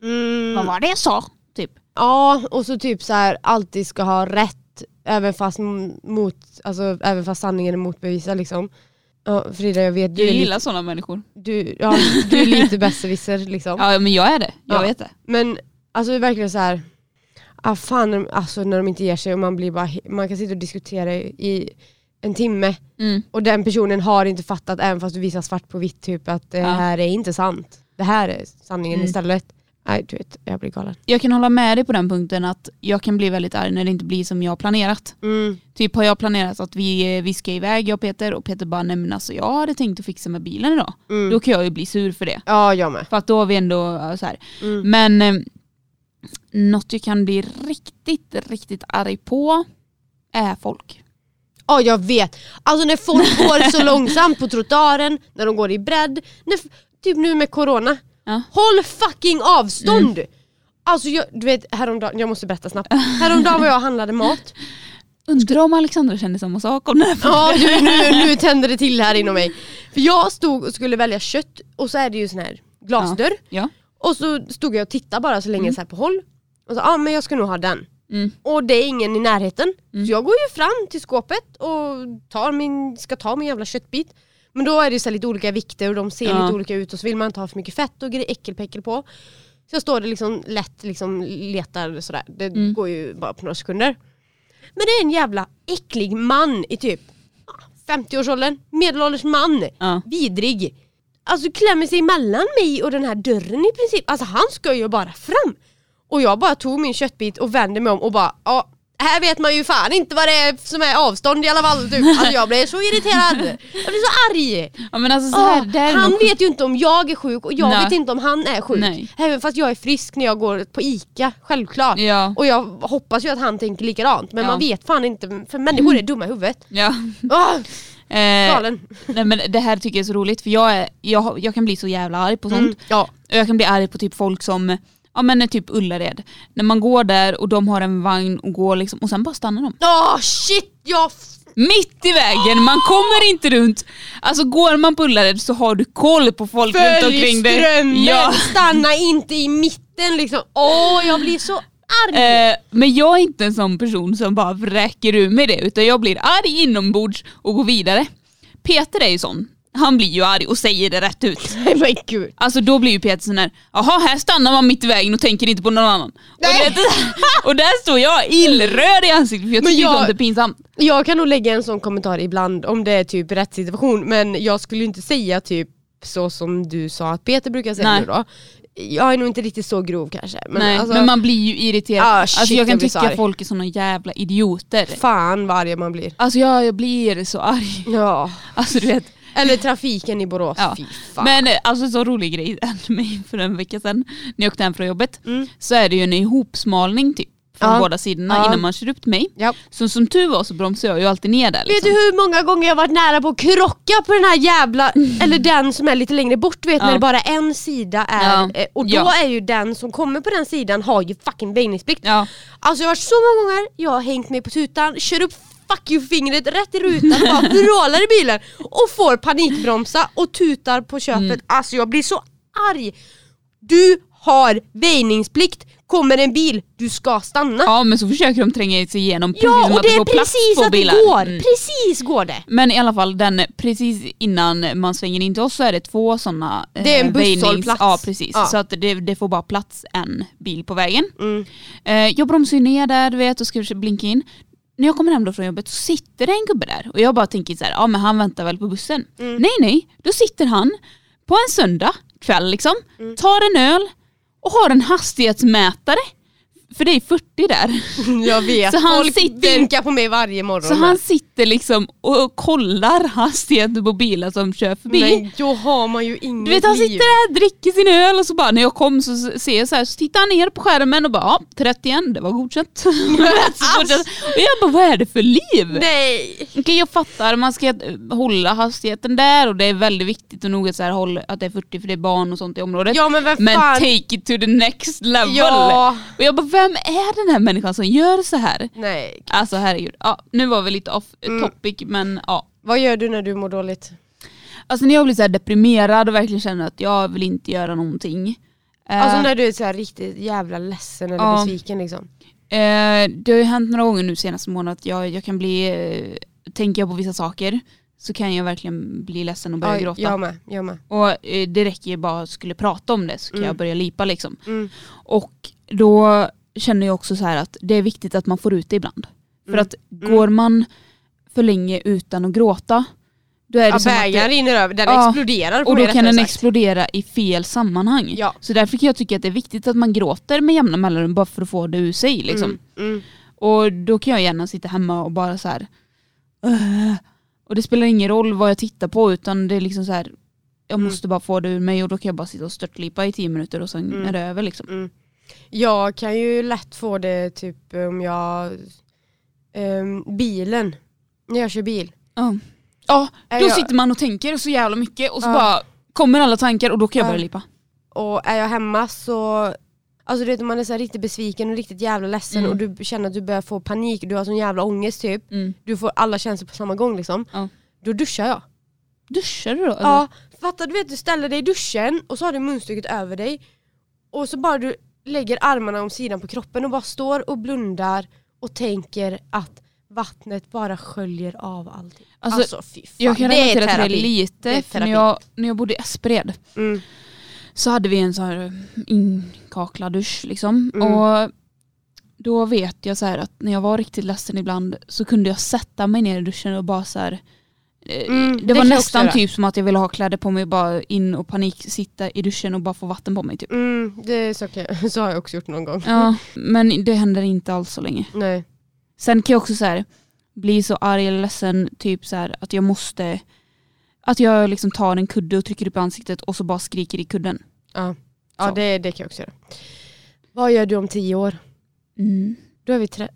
S1: vad
S2: Mm.
S1: var det jag sa? Typ.
S2: Ja, och så typ så här alltid ska ha rätt, även fast, m- mot, alltså, även fast sanningen är motbevisad liksom. Ja, Frida jag
S1: Du
S2: vet, du är lite
S1: gillar sådana människor.
S2: du, ja, du är lite besserwisser liksom.
S1: Ja men jag är det, jag
S2: Ja.
S1: vet det. när
S2: Men alltså det är verkligen så här. Ah, fan, de- alltså när de inte ger sig och man blir bara, he- man kan sitta och diskutera i- i en timme
S1: Mm.
S2: och den personen har inte fattat även fast du visar svart på vitt typ att det
S1: Ja.
S2: här är inte sant. Det här är sanningen
S1: Mm.
S2: istället. Nej du vet, jag blir galen.
S1: Jag kan hålla med dig på den punkten att jag kan bli väldigt arg när det inte blir som jag har planerat.
S2: Mm.
S1: Typ har jag planerat att vi, vi ska iväg jag och Peter och Peter bara nej men alltså jag hade tänkt att fixa med bilen idag.
S2: Mm.
S1: Då kan jag ju bli sur för det.
S2: Ja jag med.
S1: För att då har vi ändå ja, så här.
S2: Mm.
S1: Men eh, något jag kan bli riktigt, riktigt arg på är folk.
S2: Ja jag vet. Alltså när folk går så långsamt på trottoaren, när de går i bredd, när, f- typ nu med corona.
S1: Ja. Mm.
S2: Håll fucking avstånd! Alltså jag, du vet häromdagen, jag måste berätta snabbt. Häromdagen var jag och handlade mat.
S1: Undrar om Alexandra känner samma sak om det här.
S2: Ja nu, nu, nu tände det till här inom mig. För jag stod och skulle välja kött och så är det ju sån här glasdörr.
S1: Ja.
S2: Och så stod jag och tittade bara så länge så här på håll. Och så, ja ah, men jag ska nog ha den.
S1: Mm.
S2: Och det är ingen i närheten.
S1: Mm.
S2: Så jag går ju fram till skåpet och tar min, ska ta min jävla köttbit. Men då är det ju så här lite olika vikter och de ser
S1: Ja.
S2: lite olika ut och så vill man inte ha för mycket fett och grejer, äckelpäckel på. Så jag står där liksom lätt liksom letar sådär. Det
S1: Mm.
S2: går ju bara på några sekunder. Men det är en jävla äcklig man i typ ah, 50-årsåldern, medelålders man.
S1: Ja.
S2: Vidrig. Alltså klämmer sig mellan mig och den här dörren i princip. Alltså han ska ju bara fram. Och jag bara tog min köttbit och vände mig om och bara ja, här vet man ju fan inte vad det är som är avstånd i alla fall. Typ. Alltså jag blev så irriterad. Jag blev så arg.
S1: ja men alltså så här,
S2: Ah,
S1: det här är
S2: han
S1: något-
S2: vet ju inte om jag är sjuk och jag
S1: Nej.
S2: vet inte om han är sjuk.
S1: Nej.
S2: Även fast jag är frisk när jag går på ICA, självklart.
S1: Ja.
S2: Och jag hoppas ju att han tänker likadant men
S1: Ja.
S2: man vet fan inte för människor är dumma i huvudet.
S1: ja.
S2: Ah,
S1: Eh,
S2: galen.
S1: nej, men det här tycker jag är så roligt för jag, är, jag, har- jag kan bli så jävla arg på sånt.
S2: Mm, ja.
S1: Och jag kan bli arg på typ folk som, ja men typ Ullared. När man går där och de har en vagn och går liksom, och sen bara stannar de.
S2: Ah shit, jag
S1: Mitt i vägen, man
S2: Ah!
S1: kommer inte runt. Alltså går man på Ullared så har du koll på folk runt
S2: Följ
S1: omkring dig.
S2: strömmen,
S1: Ja.
S2: stanna inte i mitten liksom. Åh, jag blir så arg.
S1: Eh, men jag är inte en sån person som bara vräker ur med det utan jag blir arg inombords och går vidare. Peter är ju sån. Han blir ju arg och säger det rätt ut.
S2: Nej men gud.
S1: Alltså då blir ju Peter sån här, jaha här stannar man mitt i vägen och tänker inte på någon annan. Och,
S2: Nej.
S1: det, och där står jag illröd i ansiktet för jag
S2: Men
S1: tycker
S2: jag-
S1: sånt är pinsamt.
S2: Jag kan nog lägga en sån kommentar ibland om det är typ rätt situation men jag skulle ju inte säga typ så som du sa att Peter brukar säga
S1: Nej.
S2: nu då. Jag är nog inte riktigt så grov kanske. Men,
S1: Nej,
S2: alltså,
S1: men man blir ju irriterad.
S2: Ah,
S1: alltså
S2: shit,
S1: jag kan
S2: jag blir så
S1: tycka
S2: arg.
S1: folk är såna jävla idioter.
S2: Fan vad arg man blir.
S1: Alltså jag, jag blir så arg.
S2: Ja.
S1: Alltså du vet.
S2: Eller trafiken i Borås,
S1: Ja.
S2: fy fan.
S1: Men eh, alltså så rolig grej hände mig för en vecka sedan när jag åkte hem från jobbet.
S2: Mm.
S1: Så är det ju en ihopsmalning typ från
S2: Ja.
S1: båda sidorna
S2: Ja.
S1: innan man kör upp mig.
S2: Ja.
S1: Så som tur var så bromsade jag ju alltid ner där.
S2: Vet
S1: Liksom.
S2: du hur många gånger jag varit nära på att krocka på den här jävla, eller den som är lite längre bort vet
S1: Ja.
S2: när det bara en sida är,
S1: Ja.
S2: eh, och då
S1: Ja.
S2: är ju den som kommer på den sidan har ju fucking väjningsplikt.
S1: Ja.
S2: Alltså jag har varit så många gånger, jag har hängt mig på tutan, kör upp fuck you fingret rätt i rutan och bara vrålar i bilen och får panikbromsa och tutar på köpet.
S1: Mm.
S2: Alltså jag blir så arg! Du har väjningsplikt, kommer en bil, du ska stanna.
S1: ja men så försöker de tränga sig igenom precis
S2: Ja
S1: som
S2: och
S1: att
S2: det är
S1: får plats
S2: precis
S1: på
S2: att det
S1: bilar.
S2: går,
S1: Mm.
S2: precis går det!
S1: Men i alla fall den precis innan man svänger in till oss så är det två sådana eh,
S2: Det är en
S1: väjnings-
S2: busshållplats.
S1: Ja precis,
S2: Ja.
S1: så att det, det får bara plats en bil på vägen.
S2: Mm.
S1: Eh, jag bromsar ju ner där du vet och ska försöka blinka in. När jag kommer hem då från jobbet så sitter det en gubbe där och jag bara tänker så här, ja men han väntar väl på bussen.
S2: Mm.
S1: Nej nej, då sitter han på en söndag kväll liksom,
S2: Mm.
S1: tar en öl och har en hastighetsmätare. För det är 40 där.
S2: Jag vet,
S1: Så han
S2: folk
S1: sitter-
S2: vinkar på mig varje morgon.
S1: Så han sitter liksom och kollar hastigheten på bilar som kör förbi.
S2: Men då har man ju inget
S1: Du vet han
S2: liv.
S1: sitter där, dricker sin öl och så bara när jag kom så s- ser jag så här, så tittar han ner på skärmen och bara ja, 31, det var godkänt. Så godkänt. och jag bara vad är det för liv?
S2: Alltså. Nej!
S1: Okej jag fattar, man ska eh, hålla hastigheten där och det är väldigt viktigt och noga så här, håll, att det är 40 för det är barn och sånt i området.
S2: Ja men vad
S1: Men
S2: fan.
S1: take it to the next level.
S2: Ja.
S1: Och jag bara vem är den här människan som gör så här?
S2: Nej.
S1: Alltså herregud, ja, nu var vi lite off eh,
S2: Mm.
S1: topic men ja.
S2: Vad gör du när du mår dåligt?
S1: Alltså när jag blir så här deprimerad och verkligen känner att jag vill inte göra någonting. Eh,
S2: Alltså när du är så här riktigt jävla ledsen eller
S1: Ja.
S2: besviken liksom.
S1: Eh, det har ju hänt några gånger nu senaste månaden att jag, jag kan bli, eh, tänker jag på vissa saker så kan jag verkligen bli ledsen och börja
S2: Ja,
S1: gråta.
S2: jag med, jag med.
S1: Och eh, det räcker ju bara att skulle prata om det så kan
S2: Mm.
S1: jag börja lipa liksom.
S2: Mm.
S1: Och då känner jag också så här att det är viktigt att man får ut det ibland. För
S2: Mm.
S1: att går man för länge utan att gråta då är det
S2: Ja,
S1: som att
S2: bägaren
S1: det,
S2: rinner över, den
S1: Ja.
S2: exploderar på
S1: och
S2: mig,
S1: då kan
S2: rättare
S1: den
S2: sagt.
S1: explodera i fel sammanhang.
S2: Ja.
S1: Så därför kan jag tycka att det är viktigt att man gråter med jämna mellanrum bara för att få det ur sig. Liksom.
S2: Mm. Mm.
S1: Och då kan jag gärna sitta hemma och bara så här. "Åh." och det spelar ingen roll vad jag tittar på utan det är liksom så här. Jag
S2: Mm.
S1: måste bara få det ur mig och då kan jag bara sitta och störtlipa i tio minuter och sen
S2: Mm.
S1: är det över liksom.
S2: Jag kan ju lätt få det typ om jag, ehm, bilen, när jag kör bil.
S1: Ja, ja
S2: Är
S1: då
S2: Äh, jag-
S1: sitter man och tänker så jävla mycket och så
S2: Ja.
S1: bara kommer alla tankar och då kan jag
S2: Ja.
S1: börja lipa.
S2: och är jag hemma så Alltså du vet om man är så här riktigt besviken och riktigt jävla ledsen
S1: Mm.
S2: och du känner att du börjar få panik, du har sån jävla ångest typ.
S1: Mm.
S2: Du får alla känslor på samma gång liksom.
S1: Ja.
S2: Då duschar jag.
S1: Duschar du då? eller?
S2: Ja, fattar du vet du ställer dig i duschen och så har du munstycket över dig. Och så bara du lägger armarna om sidan på kroppen och bara står och blundar och tänker att vattnet bara sköljer av allting.
S1: Alltså,
S2: Alltså, fy fan.
S1: jag kan
S2: det är
S1: relatera till det
S2: terapi.
S1: lite,
S2: Det är
S1: för när
S2: terapi.
S1: jag, när jag bodde i Espered
S2: Mm.
S1: så hade vi en sån här inkaklad dusch liksom.
S2: Mm.
S1: Och då vet jag så här att när jag var riktigt ledsen ibland så kunde jag sätta mig ner i duschen och bara så här. eh,
S2: Mm,
S1: det,
S2: det
S1: var
S2: kan jag också
S1: nästan
S2: göra.
S1: typ som att jag ville ha kläder på mig och bara in och panik sitta i duschen och bara få vatten på mig typ.
S2: Mm, det så, kan jag, så har jag också gjort någon gång.
S1: Ja, men det händer inte alls så länge.
S2: Nej.
S1: Sen kan jag också så här bli så arg eller ledsen typ så här att jag måste att jag liksom tar en kudde och trycker upp i ansiktet och så bara skriker i kudden.
S2: Ja, ja
S1: Så.
S2: det, det kan jag också göra. Vad gör du om tio år?
S1: Mm.
S2: Då är vi tre,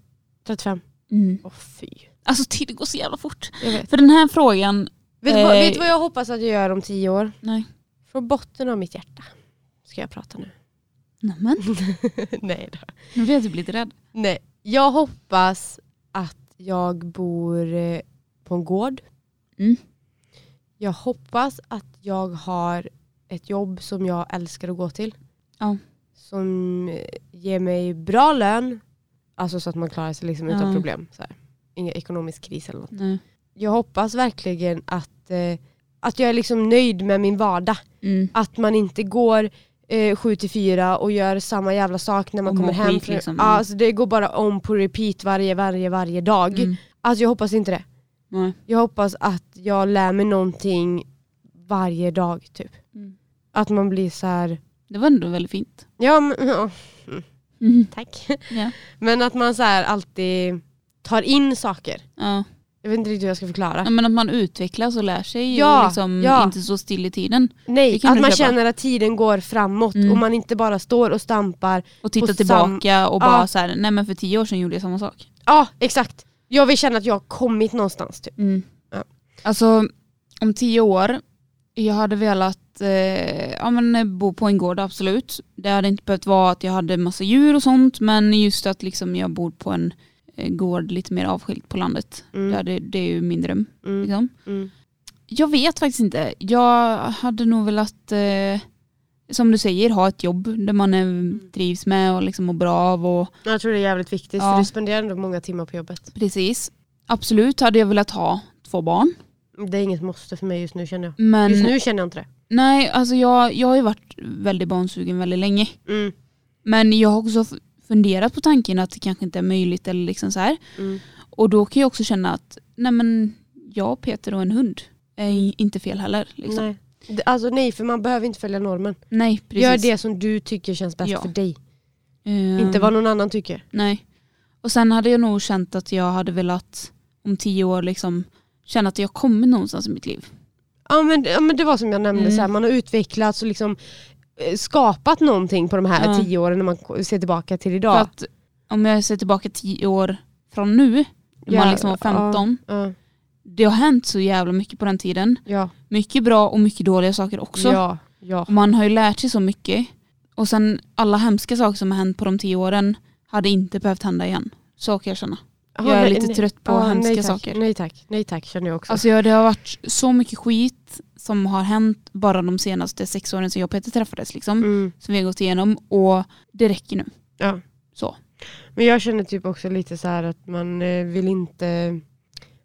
S2: 35.
S1: Mm.
S2: Åh fy.
S1: Alltså tiden går så jävla fort.
S2: Jag vet.
S1: För den här frågan,
S2: Vet, du vad,
S1: Eh.
S2: vet du vad jag hoppas att jag gör om tio år?
S1: nej.
S2: Från botten av mitt hjärta. Ska jag prata nu?
S1: Nämen,
S2: Nej då.
S1: nu blir jag typ lite rädd.
S2: Nej. Jag hoppas att jag bor eh, på en gård.
S1: Mm.
S2: Jag hoppas att jag har ett jobb som jag älskar att gå till.
S1: Ja.
S2: Som eh, ger mig bra lön. Alltså så att man klarar sig liksom utan
S1: Ja.
S2: problem. Så här. Ingen ekonomisk kris eller något.
S1: Nej.
S2: jag hoppas verkligen att, eh, att jag är liksom nöjd med min vardag.
S1: Mm.
S2: Att man inte går eh, 7 till 4 och gör samma jävla sak när man
S1: Och
S2: kommer
S1: mår
S2: hem.
S1: skit
S2: Från,
S1: liksom.
S2: ja, alltså det går bara om på repeat varje, varje, varje dag.
S1: Mm.
S2: Alltså jag hoppas inte det.
S1: Nej.
S2: Jag hoppas att jag lär mig någonting varje dag typ.
S1: Mm.
S2: Att man blir så här.
S1: Det var ändå väldigt fint.
S2: ja men, ja,
S1: Mm.
S2: tack.
S1: Ja.
S2: Men att man så här alltid tar in saker.
S1: Ja.
S2: Jag vet inte riktigt hur jag ska förklara.
S1: Ja, men att man utvecklas och lär sig
S2: Ja,
S1: och liksom
S2: ja.
S1: inte står still i tiden.
S2: Nej,
S1: det kan
S2: att
S1: du
S2: man
S1: köpa.
S2: känner att tiden går framåt
S1: Mm.
S2: och man inte bara står och stampar.
S1: Och titta
S2: Och sam-
S1: tillbaka och
S2: Ja.
S1: bara så här, nej men för tio år sedan gjorde jag samma sak.
S2: Ja, exakt. Jag vill känna att jag har kommit någonstans. Typ. Ja.
S1: Mm. Alltså om tio år, jag hade velat eh, ja, men, bo på en gård absolut. Det hade inte behövt vara att jag hade massa djur och sånt men just att liksom, jag bor på en eh, gård lite mer avskilt på landet. Det,
S2: Mm.
S1: hade, det är ju min dröm.
S2: Mm.
S1: Liksom.
S2: Mm.
S1: Jag vet faktiskt inte. Jag hade nog velat, eh, som du säger, ha ett jobb där man eh,
S2: Mm.
S1: trivs med och liksom mår bra av. Och,
S2: Jag tror det är jävligt viktigt
S1: Ja.
S2: för du spenderar ändå många timmar på jobbet.
S1: precis. Absolut hade jag velat ha två barn.
S2: Det är inget måste för mig just nu känner jag.
S1: Men
S2: Just nu känner jag inte det.
S1: nej, alltså jag, jag har ju varit väldigt barnsugen väldigt länge.
S2: Mm.
S1: Men jag har också f- funderat på tanken att det kanske inte är möjligt eller liksom så här.
S2: Mm.
S1: Och då kan jag också känna att nej men jag och Peter och en hund är i- inte fel heller. Liksom. Nej.
S2: Nej. Det- Alltså nej, för man behöver inte följa normen.
S1: precis.
S2: Gör det som du tycker känns bäst
S1: Ja.
S2: för dig.
S1: Ehm,
S2: Inte vad någon annan tycker.
S1: Nej. Och sen hade jag nog känt att jag hade velat om tio år liksom känna att jag kommit någonstans i mitt liv.
S2: Ja men, ja, men det var som jag nämnde,
S1: Mm.
S2: så här, man har utvecklats och liksom eh, skapat någonting på de här
S1: Ja.
S2: tio åren när man k- ser tillbaka till idag.
S1: För att om jag ser tillbaka tio år från nu, när man
S2: Ja,
S1: liksom var 15,
S2: ja,
S1: det har hänt så jävla mycket på den tiden.
S2: ja,
S1: Mycket bra och mycket dåliga saker också.
S2: ja, ja.
S1: Och Man har ju lärt sig så mycket. Och sen alla hemska saker som har hänt på de tio åren hade inte behövt hända igen. Så kan jag känna.
S2: Ja,
S1: Jag är
S2: nej,
S1: lite
S2: nej.
S1: trött på
S2: Ja,
S1: hemska
S2: nej, tack.
S1: saker.
S2: Nej tack, nej tack känner jag också.
S1: Alltså ja, det har varit så mycket skit som har hänt bara de senaste sex åren som jag och Peter träffades. Liksom,
S2: mm,
S1: Som vi har gått igenom och det räcker nu.
S2: ja.
S1: Så.
S2: Men jag känner typ också lite så här att man eh, vill inte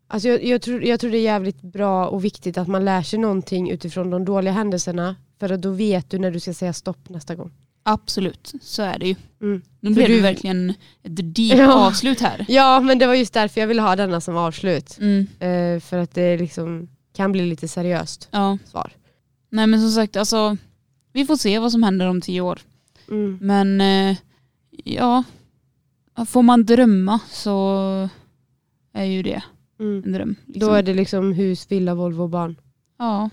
S2: Alltså jag, jag, tror, jag tror det är jävligt bra och viktigt att man lär sig någonting utifrån de dåliga händelserna. För att då vet du när du ska säga stopp nästa gång.
S1: Absolut, så är det ju.
S2: Mm.
S1: Nu blev
S2: du-
S1: det verkligen ett deep
S2: Ja.
S1: avslut här.
S2: Ja men det var just därför jag ville ha denna som avslut.
S1: Mm,
S2: Eh, för att det liksom kan bli lite seriöst
S1: ja.
S2: svar.
S1: Nej men som sagt, alltså, vi får se vad som händer om tio år.
S2: Mm.
S1: Men eh, ja, får man drömma så är ju det
S2: Mm.
S1: en dröm.
S2: Då
S1: Liksom.
S2: är det liksom hus, villa, Volvo och barn.
S1: Ja.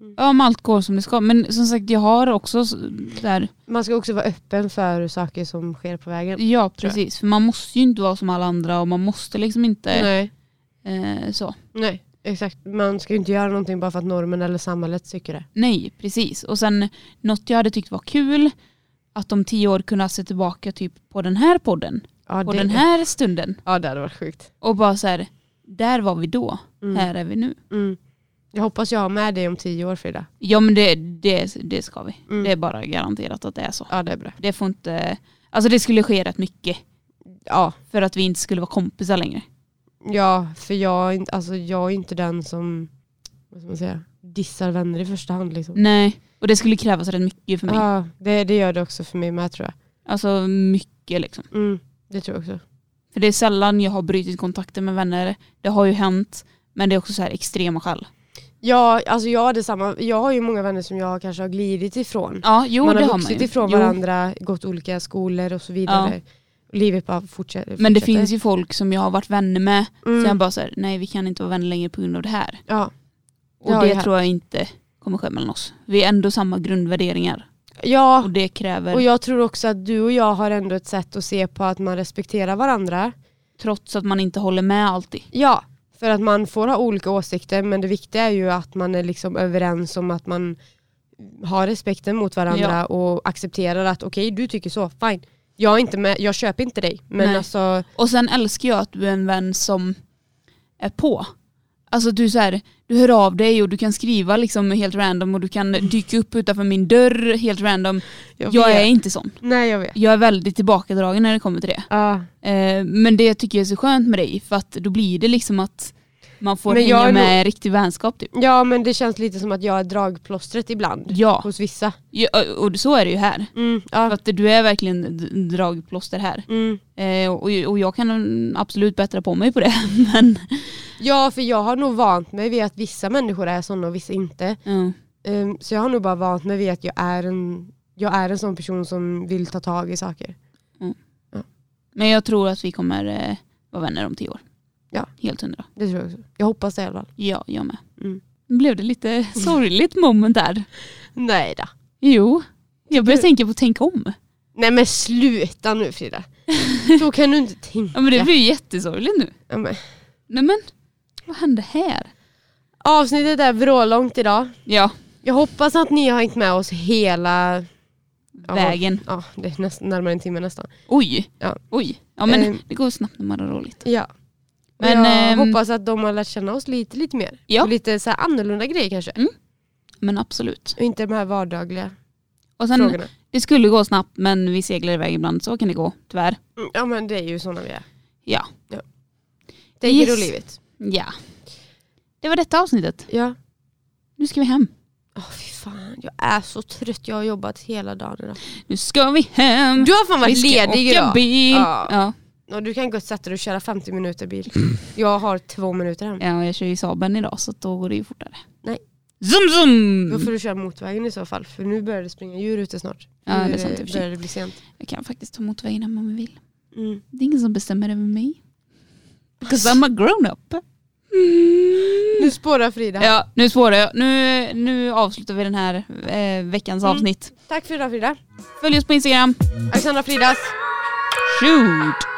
S2: Mm.
S1: ja, om allt går som det ska. Men som sagt, jag har också s- där
S2: Man ska också vara öppen för saker som sker på vägen.
S1: Ja
S2: tror jag.
S1: precis, för man måste ju inte vara som alla andra och man måste liksom inte
S2: Nej.
S1: eh, så.
S2: Nej, exakt. Man ska ju inte göra någonting bara för att normen eller samhället tycker det.
S1: Nej precis, och sen något jag hade tyckt var kul att om tio år kunna se tillbaka typ på den här podden,
S2: Ja,
S1: på den här stunden
S2: ja det hade varit sjukt.
S1: och bara så här, där var vi då,
S2: Mm.
S1: här är vi nu.
S2: Mm. Jag hoppas jag har med dig om tio år Frida.
S1: Ja men det, det, det ska vi,
S2: Mm.
S1: det är bara garanterat att det är så.
S2: Ja det är bra.
S1: Det får inte, alltså det skulle ske rätt mycket
S2: Ja,
S1: för att vi inte skulle vara kompisar längre.
S2: ja för jag, är inte- alltså, jag är inte den som vad ska man säga, dissar vänner i första hand. Liksom.
S1: Nej, och det skulle krävas rätt mycket för mig.
S2: Ja, det, det gör det också för mig med tror jag.
S1: Alltså mycket liksom.
S2: Mm, det tror jag också.
S1: För det är sällan jag har brutit kontakten med vänner. Det har ju hänt. Men det är också så här extrema skäl.
S2: Ja, alltså jag har detsamma. Jag har ju många vänner som jag kanske har glidit ifrån.
S1: Ja, jo
S2: man
S1: det
S2: har
S1: har man
S2: vuxit
S1: ju.
S2: ifrån
S1: Jo.
S2: varandra, gått olika skolor och så vidare. Livet bara fortsätter.
S1: Men det
S2: fortsätter.
S1: finns ju folk som jag har varit vänner med.
S2: Mm.
S1: Så jag bara säger nej vi kan inte vara vänner längre på grund av det här.
S2: Ja.
S1: Och
S2: Ja,
S1: det
S2: ja.
S1: tror jag inte kommer ske mellan oss. Vi är ändå samma grundvärderingar.
S2: ja,
S1: Och det kräver,
S2: och jag tror också att du och jag har ändå ett sätt att se på att man respekterar varandra.
S1: trots att man inte håller med alltid.
S2: Ja, för att man får ha olika åsikter men det viktiga är ju att man är liksom överens om att man har respekten mot varandra och accepterar att okej du tycker så, fine. Jag, är inte med, jag köper inte dig men
S1: Nej.
S2: alltså
S1: Och sen älskar jag att du är en vän som är på. Alltså du så här, du hör av dig och du kan skriva liksom helt random och du kan dyka upp utanför min dörr helt random.
S2: Mm. Jag
S1: Jag,
S2: vet.
S1: är inte sån.
S2: nej jag vet.
S1: Jag är väldigt tillbakadragen när det kommer till det.
S2: Ja.
S1: Eh, men det tycker jag är så skönt med dig för att då blir det liksom att man får
S2: Men jag är
S1: hänga med riktig vänskap typ.
S2: ja men det känns lite som att jag är dragplåstret ibland
S1: Ja.
S2: hos vissa.
S1: Ja, och så är det ju här.
S2: Mm,
S1: För
S2: ja.
S1: att du är verkligen d- dragplåster här.
S2: Mm.
S1: Eh, och, och jag kan mm, absolut bättra på mig på det. Men,
S2: ja för jag har nog vant mig vid att vissa människor är sådana och vissa inte.
S1: ja.
S2: Ehm, så jag har nog bara vant mig vid att jag är en, jag är en sån person som vill ta tag i saker.
S1: Men jag tror att vi kommer eh, vara vänner om tio år.
S2: Ja.
S1: Helt hundra.
S2: Det tror jag också. Jag hoppas det i alla fall.
S1: Ja, jag med.
S2: Mm.
S1: Nu blev det lite sorgligt moment där.
S2: Nej då.
S1: Jo, jag börjar tänka på tänk om.
S2: Nej men sluta nu Frida. Så kan du inte tänka.
S1: Ja, men det blir ju jättesorgligt nu.
S2: Ja, men.
S1: Nej men, vad hände här?
S2: Avsnittet är vrålångt idag.
S1: Ja,
S2: Jag hoppas att ni har hängt med oss hela, Ja.
S1: vägen.
S2: ja det är nästan, närmare en timme nästan.
S1: Oj,
S2: Ja.
S1: oj. Ja men
S2: Ehm.
S1: det går snabbt när man har roligt.
S2: Ja.
S1: Men,
S2: Men, jag
S1: ehm,
S2: hoppas att de har lärt känna oss lite, lite mer.
S1: Ja.
S2: Och lite så här annorlunda grejer kanske.
S1: Men absolut.
S2: Och inte de här vardagliga
S1: Och sen,
S2: frågorna.
S1: det skulle gå snabbt men vi seglar iväg ibland. Så kan det gå, tyvärr.
S2: Mm, Ja men det är ju sådana vi är.
S1: Ja.
S2: Det är
S1: Yes.
S2: yes. livet.
S1: Ja. Det var detta avsnittet.
S2: Ja.
S1: Nu ska vi hem.
S2: Åh fy fan, jag är så trött. Jag har jobbat hela dagen idag.
S1: Nu ska vi hem.
S2: Du har fan
S1: Mm. vi
S2: varit
S1: ska
S2: ledig
S1: åka
S2: idag.
S1: bil.
S2: Ja.
S1: Ja.
S2: Ja, du kan gott sätta dig och köra 50 minuter bil. Jag har två minuter hem.
S1: ja, jag kör ju Saben idag så då går det ju fortare.
S2: Nej.
S1: Zum
S2: Då
S1: zum!
S2: får du köra motvägen i så fall, för nu börjar det springa djur ute snart.
S1: Ja, det är
S2: Nu eh,
S1: sant i och för sig.
S2: börjar det bli sent.
S1: Jag kan faktiskt ta motvägen hem om jag vill.
S2: Mm.
S1: Det är ingen som bestämmer över mig. Because I'm a grown up. Mm.
S2: Nu spårar Frida.
S1: Ja, nu spårar jag. Nu, nu avslutar vi den här eh, veckans
S2: Mm.
S1: avsnitt.
S2: Tack för idag Frida.
S1: Följ oss på Instagram.
S2: Alexandra Fridas.
S1: Shoot!